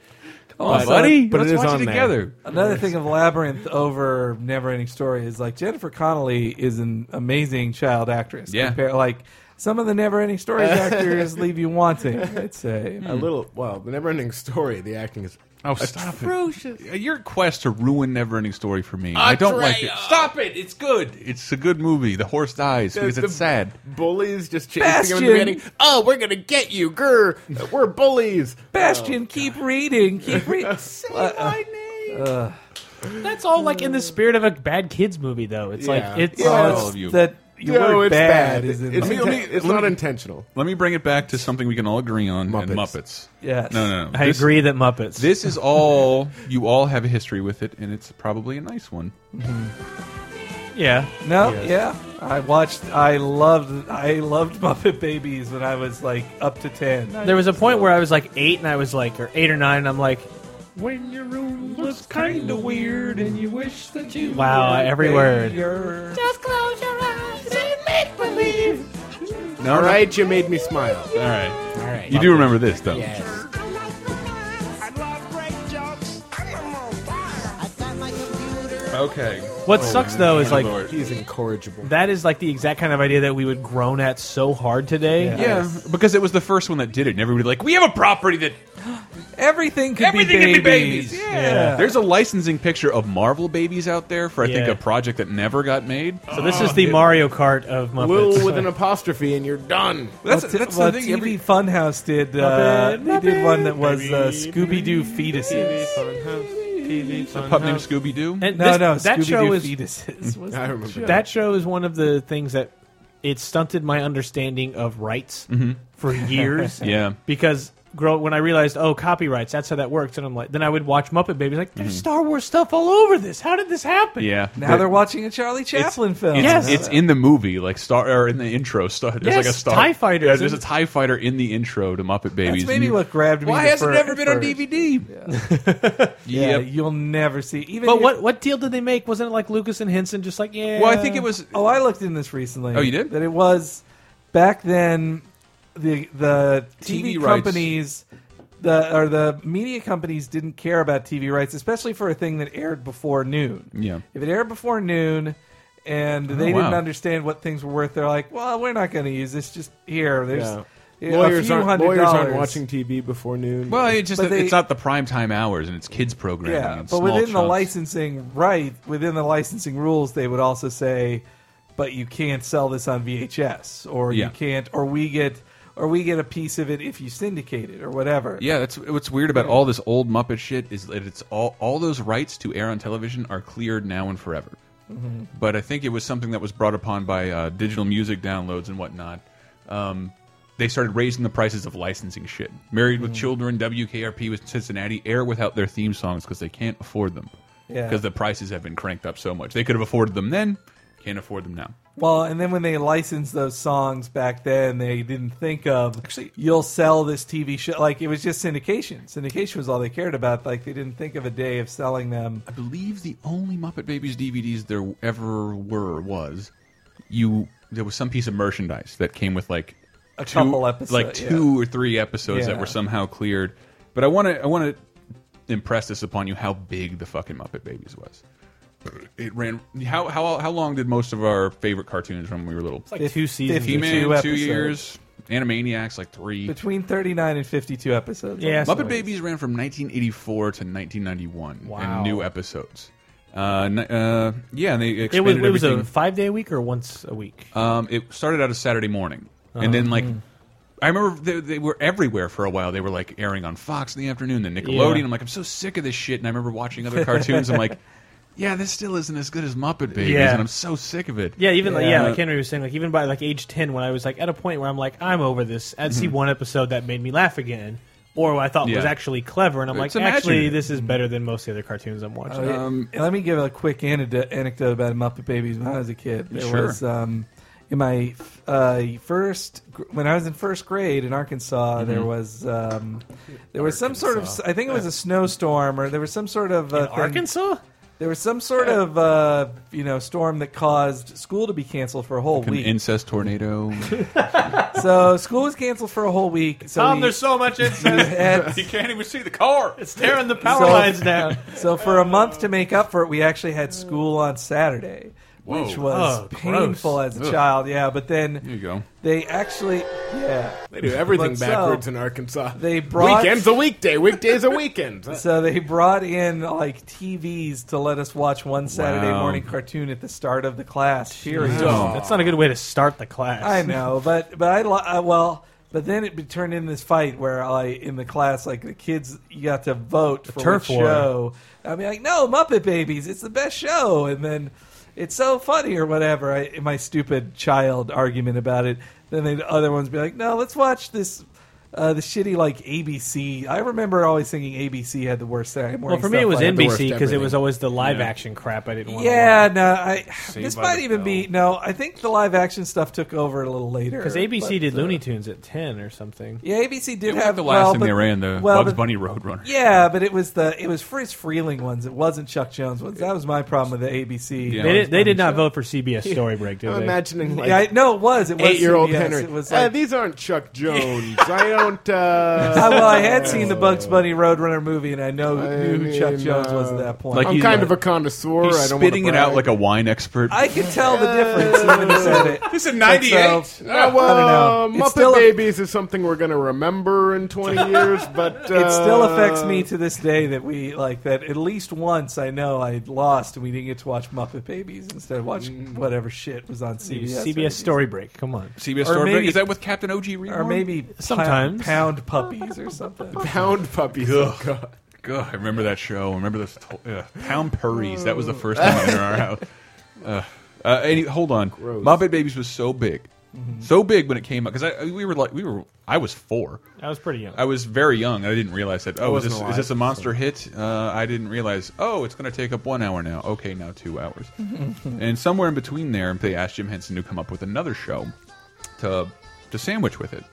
Speaker 5: Also,
Speaker 3: Oh, Buddy,
Speaker 6: but
Speaker 3: let's
Speaker 6: it is
Speaker 3: watch
Speaker 6: on
Speaker 3: it
Speaker 6: there.
Speaker 3: together.
Speaker 5: Another thing of Labyrinth over Never Ending Story is like Jennifer Connelly is an amazing child actress.
Speaker 3: Yeah.
Speaker 5: Compare- like some of the never-ending stories actors leave you wanting. I'd say.
Speaker 6: A little, well, the never-ending story. The acting is
Speaker 3: Oh, stop it! Uh, Your quest to ruin Neverending Story for me. I don't like it.
Speaker 6: Andrea!
Speaker 3: Stop it! It's good. It's a good movie. The horse dies because
Speaker 6: the
Speaker 3: it's sad.
Speaker 6: Bullies just chasing him in the
Speaker 5: Bastion!
Speaker 6: beginning. Oh, we're gonna get you, grr! We're bullies.
Speaker 5: Bastion, keep reading. Keep reading. Say
Speaker 6: Uh,
Speaker 5: my name.
Speaker 4: That's all like in the spirit of a bad kids movie, though. It's
Speaker 6: Yeah.
Speaker 4: like it's
Speaker 6: Yeah.
Speaker 5: well,
Speaker 3: all
Speaker 5: it's
Speaker 3: of you.
Speaker 5: That your
Speaker 6: no,
Speaker 5: word
Speaker 6: it's
Speaker 5: bad,
Speaker 6: bad.
Speaker 5: is in
Speaker 6: it's
Speaker 5: the-
Speaker 6: inten- it's not intentional.
Speaker 3: Let me bring it back to something we can all agree on: Muppets.
Speaker 6: Muppets.
Speaker 3: Muppets.
Speaker 5: Yes.
Speaker 3: No, no, no.
Speaker 4: I
Speaker 3: This-
Speaker 4: agree that Muppets.
Speaker 3: This is all you all have a history with it, and it's probably a nice one.
Speaker 4: yeah,
Speaker 5: No, yeah. I watched. I loved. I loved Muppet Babies when I was like up to ten.
Speaker 4: there was a point where I was like eight, and I was like, or eight or nine, and I'm like, when your room looks kind of weird, and you wish that you. Wow, every word.
Speaker 5: Your-
Speaker 3: No,
Speaker 6: All right, you made me smile.
Speaker 3: all right.
Speaker 6: All right,
Speaker 3: You do remember this though.
Speaker 6: Yes.
Speaker 3: Okay.
Speaker 4: What sucks though is like
Speaker 6: He's incorrigible.
Speaker 4: that is like the exact kind of idea that we would groan at so hard today.
Speaker 3: Yeah, because it was the first one that did it, and everybody like, we have a property that
Speaker 5: everything could
Speaker 3: everything
Speaker 5: be
Speaker 3: can be
Speaker 5: babies.
Speaker 3: babies. Yeah. There's a licensing picture of Marvel babies out there for I think
Speaker 4: Yeah.
Speaker 3: a project that never got made.
Speaker 4: So this is the Mario Kart of Muppets.
Speaker 6: Will with an apostrophe, and you're done.
Speaker 5: That's,
Speaker 3: That's- that's the
Speaker 5: what
Speaker 3: thing,
Speaker 5: TV
Speaker 3: every-
Speaker 5: Funhouse did. Uh,
Speaker 4: Muppet,
Speaker 5: they did one that was
Speaker 6: baby,
Speaker 5: uh, Scooby Doo fetuses. Oh,
Speaker 3: A pup named Scooby Doo.
Speaker 4: And
Speaker 5: No,
Speaker 4: this-
Speaker 5: no,
Speaker 4: that
Speaker 5: Scooby
Speaker 4: show
Speaker 5: Doo
Speaker 4: is
Speaker 5: fetuses. was
Speaker 6: I remember that.
Speaker 4: that show is one of the things that it stunted my understanding of rights
Speaker 5: Mm-hmm.
Speaker 4: for years.
Speaker 3: Yeah.
Speaker 4: because grow when I realized oh copyrights that's how that works, and I'm like then I would watch Muppet Babies like
Speaker 5: Mm-hmm.
Speaker 4: there's Star Wars stuff all over this. How did this happen?
Speaker 3: Yeah.
Speaker 5: now they're watching a Charlie Chaplin film.
Speaker 3: It's,
Speaker 4: Yes.
Speaker 3: it's in the movie, like star or in the intro. Star, there's
Speaker 4: Yes,
Speaker 3: like a star
Speaker 4: TIE fighters
Speaker 3: Yeah, there's a
Speaker 4: and-
Speaker 3: Tie Fighter in the intro to Muppet Babies.
Speaker 5: that's maybe
Speaker 3: You-
Speaker 5: what grabbed me.
Speaker 3: Why
Speaker 5: the
Speaker 3: has it
Speaker 5: fir-
Speaker 3: never been on
Speaker 5: first.
Speaker 3: DVD?
Speaker 5: Yeah,
Speaker 3: Yep.
Speaker 5: you'll never see. Even
Speaker 4: But
Speaker 5: if-
Speaker 4: what what deal did they make? Wasn't it like Lucas and Henson just like yeah?
Speaker 3: Well, I think it was.
Speaker 5: Oh, I looked in this recently.
Speaker 3: Oh, you did?
Speaker 5: That it was back then. The the
Speaker 3: TV
Speaker 5: TV,
Speaker 3: rights.
Speaker 5: companies, the or the media companies didn't care about TV rights, especially for a thing that aired before noon.
Speaker 3: Yeah. Oh,
Speaker 5: if it aired before noon, and they
Speaker 3: wow.
Speaker 5: didn't understand what things were worth, they're like, "Well, we're not going to use this. Just here, there's
Speaker 6: Yeah.
Speaker 5: you know, a
Speaker 6: lawyers
Speaker 5: few
Speaker 6: aren't
Speaker 5: hundred
Speaker 6: lawyers
Speaker 5: dollars.
Speaker 6: aren't watching TV before noon.
Speaker 3: Well, it's just that
Speaker 5: But they-
Speaker 3: it's not the prime time hours and it's kids programming.
Speaker 5: Yeah,
Speaker 3: and
Speaker 5: but
Speaker 3: small
Speaker 5: within the
Speaker 3: chunks.
Speaker 5: licensing right, within the licensing rules, they would also say, but you can't sell this on VHS, or
Speaker 3: Yeah.
Speaker 5: you can't, or we get, or we get a piece of it if you syndicate it, or whatever.
Speaker 3: Yeah, that's what's weird about all this old Muppet shit is that it's all all those rights to air on television are cleared now and forever. But I think it was something that was brought upon by uh, digital music downloads and whatnot. Um, they started raising the prices of licensing shit. Married with Children, WKRP with Cincinnati air without their theme songs because they can't afford them.
Speaker 5: Yeah.
Speaker 3: Because the prices have been cranked up so much. They could have afforded them then, can't afford them now.
Speaker 5: Well, and then when they licensed those songs back then, they didn't think of actually you'll sell this TV show. Like it was just syndication. Syndication was all they cared about. Like they didn't think of a day of selling them.
Speaker 3: I believe the only Muppet Babies DVDs there ever were was you. There was some piece of merchandise that came with like
Speaker 5: A
Speaker 3: two,
Speaker 5: couple episodes,
Speaker 3: like
Speaker 5: yeah.
Speaker 3: two or three episodes that
Speaker 5: Yeah.
Speaker 3: were somehow cleared. But I want to I want to impress this upon you how big the fucking Muppet Babies was. It ran how how how long did most of our favorite cartoons run when we were little?
Speaker 4: like two seasons.
Speaker 5: Fifty-
Speaker 4: or
Speaker 3: He-Man,
Speaker 5: two
Speaker 3: two
Speaker 5: episodes.
Speaker 3: years. Animaniacs, like three.
Speaker 5: Between thirty nine and fifty two episodes.
Speaker 4: Yeah,
Speaker 3: Muppet Babies ran from 1984 to 1991
Speaker 4: Wow.
Speaker 3: and new episodes. Uh, ni- uh, yeah, and they
Speaker 4: It was,
Speaker 3: expanded
Speaker 4: it was a
Speaker 3: everything.
Speaker 4: five day week or once a week.
Speaker 3: um, it started out as Saturday morning, and then like
Speaker 4: Uh-huh.
Speaker 3: I remember they, they were everywhere for a while. They were like airing on Fox in the afternoon, then Nickelodeon.
Speaker 4: Yeah.
Speaker 3: I'm like, I'm so sick of this shit. And I remember watching other cartoons. I'm like, yeah, this still isn't as good as Muppet Babies,
Speaker 4: Yeah.
Speaker 3: and I'm so sick of it. Uh,
Speaker 4: Yeah, even like
Speaker 5: Yeah.
Speaker 4: yeah, like Henry was saying, like even by like age ten, when I was like at a point where I'm like I'm over this. I'd see one episode that made me laugh again, or what I thought was
Speaker 3: Mm-hmm. Yeah.
Speaker 4: actually clever, and I'm
Speaker 3: It's Oh,
Speaker 4: like, actually,
Speaker 3: imaginative.
Speaker 4: this is better than most of the other cartoons I'm watching.
Speaker 5: Um, Let me give a quick anecdote, anecdote about Muppet Babies when I was a kid. There
Speaker 3: Sure.
Speaker 5: was um, in my uh, first gr- when I was in first grade in Arkansas, there was um, there was some sort of I think it was a snowstorm or there was some sort of uh, thing-
Speaker 4: Arkansas?
Speaker 5: There was some sort of uh, you know storm that caused school to be canceled for a whole
Speaker 3: An
Speaker 5: week.
Speaker 3: incest tornado.
Speaker 5: so school was canceled for a whole week. So we-
Speaker 4: so much incest.
Speaker 5: had-
Speaker 3: you can't even see the car.
Speaker 4: it's tearing the power
Speaker 5: So-
Speaker 4: lines down.
Speaker 5: So for a month to make up for it, we actually had school on Saturday.
Speaker 3: Whoa.
Speaker 5: which was
Speaker 4: Oh, gross.
Speaker 5: painful as a
Speaker 3: Ugh.
Speaker 5: child. Yeah, but then
Speaker 3: There you go.
Speaker 5: they actually, yeah,
Speaker 6: They do everything
Speaker 5: But so,
Speaker 6: backwards in Arkansas.
Speaker 5: they brought-
Speaker 6: weekends a weekday, weekdays a weekend.
Speaker 5: So they brought in like TVs to let us watch one Saturday
Speaker 3: Wow.
Speaker 5: morning cartoon at the start of the class period.
Speaker 4: That's not a good way to start the class.
Speaker 5: I know, but but I, li- I well, but then it be- turned into this fight where like in the class, like the kids you got to vote for
Speaker 4: turf
Speaker 5: which
Speaker 4: war.
Speaker 5: show. I mean, like no Muppet Babies, it's the best show, and then it's so funny or whatever. I, in my stupid child argument about it, then the other ones be like, no, let's watch this. Uh, the shitty like ABC. I remember always thinking ABC had the worst Saturday morning.
Speaker 4: Well, for me, it
Speaker 5: stuff
Speaker 4: was
Speaker 5: like that.
Speaker 4: NBC because it
Speaker 6: everything.
Speaker 4: was always the live action crap I didn't want.
Speaker 5: Yeah, no, I, this
Speaker 3: by
Speaker 5: might
Speaker 3: the
Speaker 5: even be no. I think the live action stuff took over a little later
Speaker 4: because ABC
Speaker 5: but,
Speaker 4: did
Speaker 5: uh,
Speaker 4: Looney Tunes at ten or something.
Speaker 5: Yeah, ABC
Speaker 3: It
Speaker 5: did
Speaker 3: was
Speaker 5: have
Speaker 3: like the last
Speaker 5: well,
Speaker 3: thing
Speaker 5: but,
Speaker 3: they ran, the
Speaker 5: well,
Speaker 3: Bugs
Speaker 5: but-
Speaker 3: Bunny Roadrunner.
Speaker 5: Yeah, but it was the it was Fritz Freeling ones. It wasn't Chuck Jones ones. That was my problem with the ABC.
Speaker 3: Yeah.
Speaker 4: They did, they did not
Speaker 5: Show.
Speaker 4: vote for CBS Story Break, did
Speaker 6: I'm
Speaker 4: they?
Speaker 6: imagining like
Speaker 5: Yeah, I, no, it was. It was
Speaker 6: eight-year-old
Speaker 5: CBS.
Speaker 6: Henry.
Speaker 5: It was
Speaker 6: Uh,
Speaker 5: like,
Speaker 6: these aren't Chuck Jones. I don't. Uh,
Speaker 5: I, well, I had seen the
Speaker 3: Oh.
Speaker 5: Bugs Bunny Roadrunner movie, and I know
Speaker 6: I
Speaker 5: knew who Chuck
Speaker 6: mean,
Speaker 5: Jones was
Speaker 6: uh,
Speaker 5: at that point.
Speaker 3: Like
Speaker 6: I'm
Speaker 3: you-
Speaker 6: kind of a connoisseur.
Speaker 3: He's
Speaker 6: I don't
Speaker 3: spitting it
Speaker 6: wanna
Speaker 3: out like
Speaker 6: brag.
Speaker 3: a wine expert.
Speaker 5: I could tell the difference when you said it.
Speaker 3: this is
Speaker 5: '98? so-
Speaker 6: Uh, well,
Speaker 5: I don't know. It's
Speaker 6: Muppet
Speaker 5: still a-
Speaker 6: Babies is something we're going to remember in 20 years, but uh,
Speaker 5: It still affects me to this day that we like that at least once I know I lost and we didn't get to watch Muppet Babies instead of
Speaker 6: Mm.
Speaker 5: watching whatever shit was on
Speaker 4: It was
Speaker 5: CBS.
Speaker 4: CBS Story Break. Come on.
Speaker 3: CBS
Speaker 5: Or
Speaker 3: Story Break.
Speaker 5: maybe-
Speaker 3: Is that with Captain OG Reborn?
Speaker 5: or maybe
Speaker 4: Sometimes.
Speaker 5: pound, pound puppies or something.
Speaker 6: Pound puppies. Oh, God.
Speaker 3: Ugh, I remember that show. I remember this yeah. Pound Purries. That was the first time in our house. Ugh. Uh, any, hold on. Muppet Babies was so big, so big when it came out because I we were like we were I was four.
Speaker 4: I was pretty young.
Speaker 3: I was very young. and I didn't realize that. Oh, is
Speaker 6: wasn't
Speaker 3: this, is
Speaker 6: alive,
Speaker 3: this a monster hit? Uh, I didn't realize. Oh, it's going to take up one hour now. Okay, now two hours. and somewhere in between there, they asked Jim Henson to come up with another show to to sandwich with it.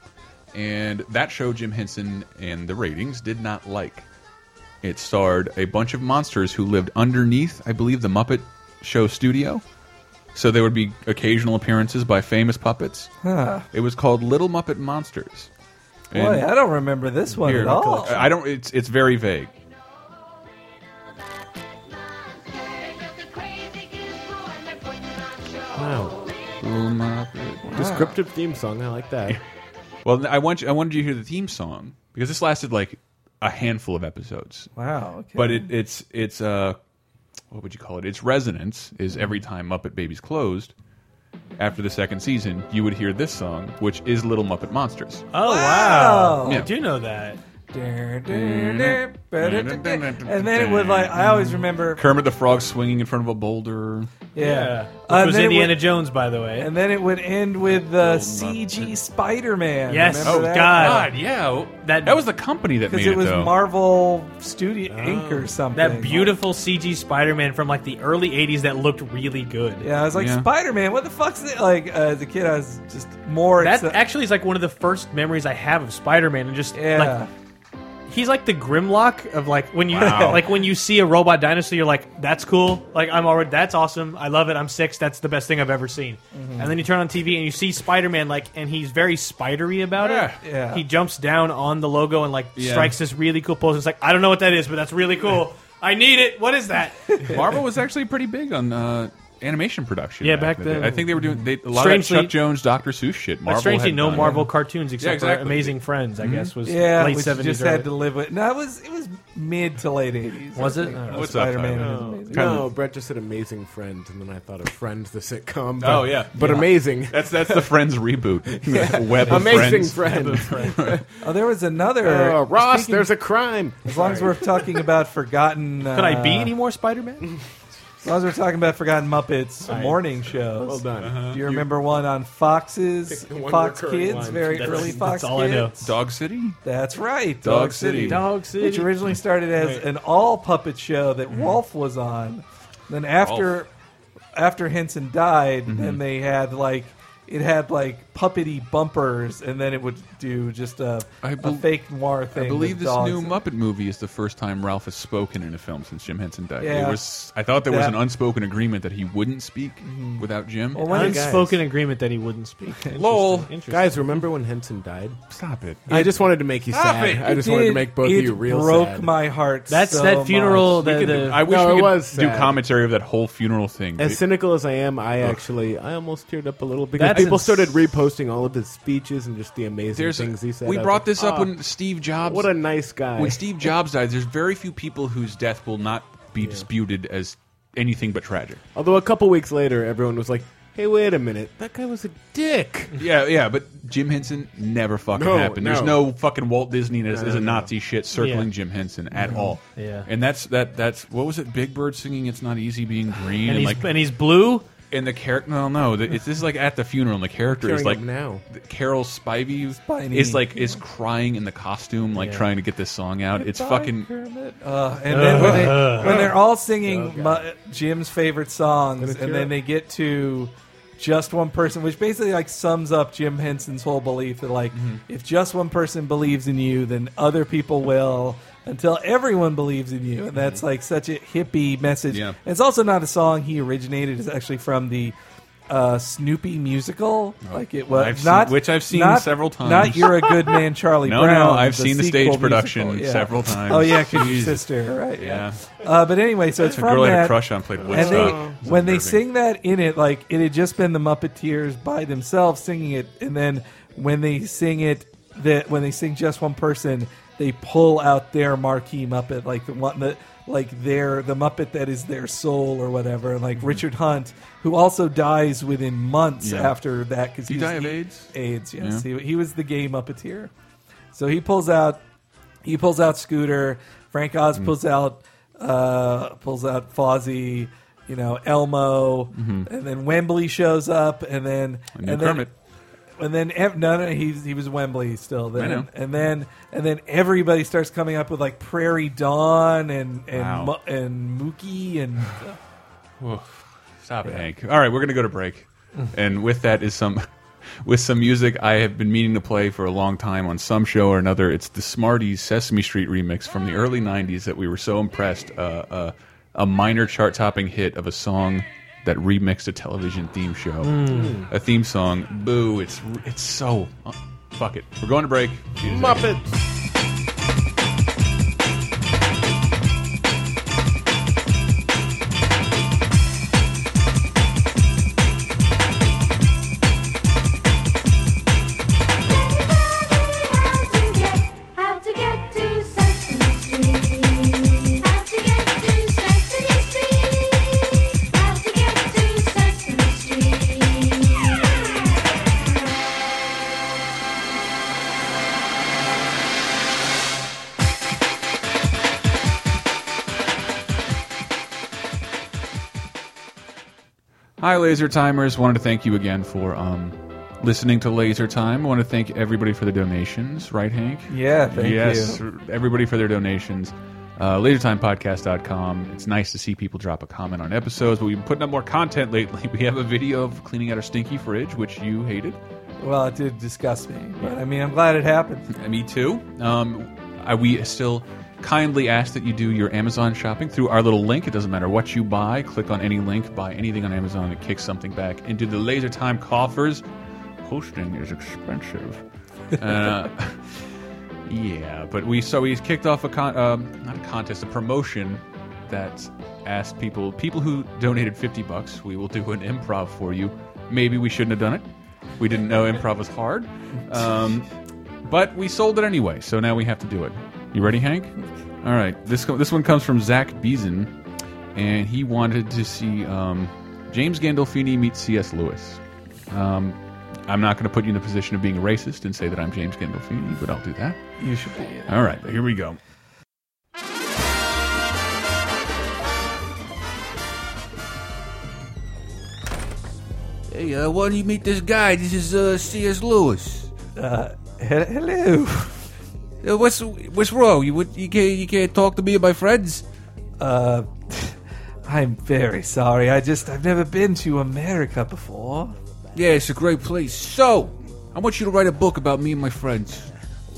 Speaker 3: And that show, Jim Henson and the ratings did not like. It starred a bunch of monsters who lived underneath, I believe, the Muppet Show studio. So there would be occasional appearances by famous puppets. It was called Little Muppet Monsters.
Speaker 5: Boy, I don't remember this one
Speaker 3: Here,
Speaker 5: at all.
Speaker 3: I don't. It's it's very vague.
Speaker 6: Wow. Descriptive theme song. I like that.
Speaker 3: Well, I want you, I wanted you to hear the theme song because this lasted like a handful of episodes.
Speaker 5: Wow. Okay.
Speaker 3: But it, it's it's uh, what would you call it? Its resonance is every time Muppet Babies closed. After the second season, you would hear this song, which is Little Muppet Monsters.
Speaker 4: oh wow!
Speaker 5: Wow.
Speaker 3: Yeah.
Speaker 4: I do know that.
Speaker 5: and then it would like I always remember.
Speaker 3: Kermit the Frog swinging in front of a boulder.
Speaker 5: Yeah.
Speaker 4: Which
Speaker 5: Uh,
Speaker 4: was
Speaker 5: then it would-
Speaker 4: Indiana Jones, by the way.
Speaker 5: And then it would end with
Speaker 3: Oh,
Speaker 5: the CG Spider-Man.
Speaker 4: Yes.
Speaker 5: Remember
Speaker 4: Oh,
Speaker 5: that?
Speaker 4: God.
Speaker 3: yeah,
Speaker 4: That-
Speaker 3: that was the company that made
Speaker 5: Because
Speaker 3: it,
Speaker 5: it was
Speaker 3: though.
Speaker 5: Marvel Studio Inc. or something.
Speaker 4: that beautiful CG Spider-Man from like the early '80s that looked really good.
Speaker 5: Yeah, I was like
Speaker 3: Yeah.
Speaker 5: Spider-Man. What the fuck's it? Like uh, as a kid, I was just more.
Speaker 4: That
Speaker 5: exci-
Speaker 4: actually is like one of the first memories I have of Spider-Man, and just
Speaker 5: yeah.
Speaker 4: like he's like the Grimlock of like when you
Speaker 3: Wow.
Speaker 4: like when you see a robot dinosaur, you're like, "That's cool! Like I'm already that's awesome! I love it! I'm six! That's the best thing I've ever seen." And then you turn on TV and you see Spider-Man like, and he's very spidery about it.
Speaker 5: Yeah. Yeah.
Speaker 4: He jumps down on the logo and like
Speaker 3: Yeah.
Speaker 4: strikes this really cool pose. It's like I don't know what that is, but that's really cool. I need it. What is that?
Speaker 3: Marvel was actually pretty big on uh, animation production.
Speaker 4: Yeah, back
Speaker 3: in the day.
Speaker 4: then.
Speaker 3: I think they were doing they, a lot of that
Speaker 4: Strangely-
Speaker 3: Chuck Jones, Doctor Seuss shit.
Speaker 4: But
Speaker 3: Marvel
Speaker 4: strangely,
Speaker 3: had
Speaker 4: no
Speaker 3: done.
Speaker 4: Marvel cartoons except
Speaker 3: exactly.
Speaker 4: for Amazing Friends. I guess was
Speaker 5: Yeah,
Speaker 4: late
Speaker 5: which you
Speaker 4: seventies.
Speaker 5: just had to live with. No, it was it was mid to late eighties.
Speaker 4: Was it? I don't know.
Speaker 3: What's up,
Speaker 5: Spider-Man
Speaker 3: Tyler?
Speaker 6: Oh.
Speaker 5: was amazing.
Speaker 3: Kind
Speaker 6: No,
Speaker 3: of-
Speaker 6: Brett just said Amazing Friend, and then I thought of Friends, the sitcom. But,
Speaker 3: Oh, yeah.
Speaker 6: But amazing.
Speaker 3: That's that's the Friends reboot. Web of
Speaker 6: Amazing
Speaker 3: Friends.
Speaker 6: Friend.
Speaker 5: Oh, there was another.
Speaker 6: Uh, Ross,
Speaker 5: speaking-
Speaker 6: there's a crime.
Speaker 5: As long as we're talking about forgotten, uh,
Speaker 4: Could I be any more Spider-Man?
Speaker 5: As long as we're talking about forgotten Muppets morning shows.
Speaker 6: Well done.
Speaker 3: Uh-huh.
Speaker 5: Do you remember one on Fox's
Speaker 6: Pick the one
Speaker 5: Fox
Speaker 6: recurring
Speaker 5: Kids,
Speaker 6: one.
Speaker 5: very
Speaker 4: That's-
Speaker 5: early
Speaker 4: that's
Speaker 5: Fox
Speaker 4: all I
Speaker 5: Kids?
Speaker 4: know.
Speaker 3: Dog City.
Speaker 5: That's right, Dog,
Speaker 3: Dog
Speaker 5: City.
Speaker 3: City.
Speaker 4: Dog
Speaker 5: which
Speaker 4: City.
Speaker 5: originally started as
Speaker 4: Right.
Speaker 5: an all puppet show that Rolf was on. Then after after Henson died, then they had like it had like puppety bumpers, and then it would do just a,
Speaker 3: I
Speaker 5: a
Speaker 3: bel-
Speaker 5: fake noir thing.
Speaker 3: I believe
Speaker 5: with
Speaker 3: this
Speaker 5: dogs.
Speaker 3: new Muppet movie is the first time Ralph has spoken in a film since Jim Henson died.
Speaker 5: Yeah.
Speaker 3: It was. I thought there was
Speaker 5: Yeah.
Speaker 3: an unspoken agreement that he wouldn't speak
Speaker 6: Mm-hmm.
Speaker 3: without Jim.
Speaker 5: Well, when it-
Speaker 4: Unspoken agreement that he wouldn't speak.
Speaker 3: Lol.
Speaker 4: Interesting, interesting.
Speaker 6: Guys, remember when Henson died?
Speaker 3: Stop it.
Speaker 6: I just wanted to make you
Speaker 3: Stop
Speaker 6: sad.
Speaker 3: it.
Speaker 6: I just
Speaker 5: It
Speaker 6: wanted to
Speaker 5: did-
Speaker 6: make both of
Speaker 5: it
Speaker 6: you real
Speaker 5: broke
Speaker 6: sad.
Speaker 5: my heart.
Speaker 4: That's
Speaker 5: so
Speaker 4: that funeral.
Speaker 5: much.
Speaker 4: The, the,
Speaker 3: I wish
Speaker 6: No,
Speaker 3: we
Speaker 6: it
Speaker 3: could
Speaker 6: was
Speaker 3: do
Speaker 6: sad.
Speaker 3: commentary of that whole funeral thing.
Speaker 6: as cynical as I am, I actually I almost teared up a little because
Speaker 4: That's
Speaker 6: people
Speaker 4: ins-
Speaker 6: started reposting all of his speeches and just the amazing
Speaker 3: There's-
Speaker 6: things he said.
Speaker 3: we
Speaker 6: I was
Speaker 3: brought
Speaker 6: like,
Speaker 3: this up
Speaker 6: "Ah,
Speaker 3: when Steve Jobs.
Speaker 6: what a nice guy.
Speaker 3: when Steve Jobs died, there's very few people whose death will not be disputed as anything but tragic.
Speaker 6: Although a couple weeks later, everyone was like, "Hey, wait a minute, that guy was a dick."
Speaker 3: Yeah, yeah, but Jim Henson never fucking
Speaker 6: No,
Speaker 3: happened. There's
Speaker 6: no.
Speaker 3: no fucking Walt Disney as, as a Nazi shit circling
Speaker 4: Yeah.
Speaker 3: Jim Henson at all.
Speaker 4: Yeah.
Speaker 3: and that's that. That's what was it? Big Bird singing "It's Not Easy Being Green"
Speaker 4: and
Speaker 3: and,
Speaker 4: he's
Speaker 3: like
Speaker 4: and he's blue.
Speaker 3: and the character. No, no, the, it's, this is like at the funeral. and The character is
Speaker 6: Tearing
Speaker 3: like
Speaker 6: up now.
Speaker 3: th- Carol Spivey,
Speaker 5: Spivey.
Speaker 3: is like is crying in the costume, like
Speaker 4: Yeah.
Speaker 3: trying to get this song out. It's fucking. uh.
Speaker 5: Uh, and then when, they, when they're all singing my, Jim's favorite songs,
Speaker 6: it's
Speaker 5: and
Speaker 6: your-
Speaker 5: then they get to just one person, which basically like sums up Jim Henson's whole belief that like
Speaker 3: Mm-hmm.
Speaker 5: if just one person believes in you, then other people will until everyone believes in you, and that's like such a hippie message.
Speaker 3: Mm-hmm. Yeah.
Speaker 5: And it's also not a song he originated; it's actually from the. Uh, Snoopy musical, like it was
Speaker 3: Oh. I've seen-
Speaker 5: not
Speaker 3: which I've seen
Speaker 5: not-
Speaker 3: several times.
Speaker 5: Not you're a good man, Charlie
Speaker 3: No,
Speaker 5: Brown.
Speaker 3: no, I've seen the
Speaker 5: sequel
Speaker 3: stage
Speaker 5: musical,
Speaker 3: production
Speaker 5: yeah.
Speaker 3: several times.
Speaker 5: Oh yeah, because your
Speaker 3: Jesus.
Speaker 5: sister, right?
Speaker 3: Yeah.
Speaker 5: Uh, but anyway, so it's
Speaker 3: A
Speaker 5: from
Speaker 3: girl I
Speaker 5: that.
Speaker 3: had a crush on played
Speaker 5: and
Speaker 3: Woodstock. It
Speaker 5: they,
Speaker 3: was
Speaker 5: when they
Speaker 3: unnerving.
Speaker 5: sing that in it, like it had just been the Muppeteers by themselves singing it, and then when they sing it, that when they sing just one person, they pull out their marquee Muppet, like the one that, like their the Muppet that is their soul or whatever, and like Richard Hunt, who also dies within months
Speaker 3: Yeah.
Speaker 5: after that because
Speaker 3: Did he
Speaker 5: was
Speaker 3: die of
Speaker 5: the-
Speaker 3: AIDS?
Speaker 5: AIDS, yes. He, he was the gay Muppeteer. So he pulls out he pulls out Scooter. Frank Oz
Speaker 3: Mm.
Speaker 5: pulls out uh, pulls out Fozzie. You know Elmo, and then Wembley shows up, and then
Speaker 3: And then
Speaker 5: and then-
Speaker 3: Mm-hmm. Kermit.
Speaker 5: and then ev- no, no, he he was Wembley still then,
Speaker 3: know.
Speaker 5: and then and then everybody starts coming up with like Prairie Dawn and and
Speaker 3: Wow.
Speaker 5: Mo- and Mookie and
Speaker 3: Stop it, Hank. All right, we're gonna go to break, and with that is some, with some music I have been meaning to play for a long time on some show or another. It's the Smarties Sesame Street remix from the early '90s that we were so impressed. Uh, uh, a minor chart-topping hit of a song that remixed a television theme show, a theme song. Boo! It's it's so. Uh, fuck it. We're going to break. See you in a second.
Speaker 6: Muppets.
Speaker 10: How to get to Sesame Street. How to get to Sesame Street. How to get to Sesame Street.
Speaker 3: Hi, Laser Timers. Wanted to thank you again for um, listening to Laser Time. want to thank everybody for the donations, right, Hank?
Speaker 5: yeah, thank
Speaker 3: yes,
Speaker 5: you.
Speaker 3: everybody for their donations. Uh, LaserTimePodcast.com. It's nice to see people drop a comment on episodes, but we've been putting up more content lately. We have a video of cleaning out our stinky fridge, which you hated.
Speaker 5: Well, it did disgust me, but I mean I'm glad it happened.
Speaker 3: Uh, Me too. Um, I, we still kindly ask that you do your Amazon shopping through our little link. It doesn't matter what you buy. Click on any link, buy anything on Amazon, it kicks something back into the Laser Time coffers. Hosting is expensive. Uh, yeah, but we so we kicked off a con um, not a contest, a promotion that asked people people who donated fifty bucks, we will do an improv for you. Maybe we shouldn't have done it. We didn't know improv was hard, um, but we sold it anyway. So now we have to do it. You ready, Hank? All right. This co- this one comes from Zach Beeson, and he wanted to see um, James Gandolfini meet C.S. Lewis. Um, I'm not going to put you in the position of being racist and say that I'm James Gandolfini, but I'll do that.
Speaker 5: You should be.
Speaker 3: All right, here we go.
Speaker 9: Hey, uh, why don't you meet this guy? This is uh, C.S. Lewis.
Speaker 5: Uh, he- hello.
Speaker 9: Uh, what's what's wrong? You what- you can't you can't talk to me and my friends.
Speaker 5: Uh, I'm very sorry. I just I've never been to America before.
Speaker 3: Yeah, it's a great place. So, I want you to write a book about me and my friends.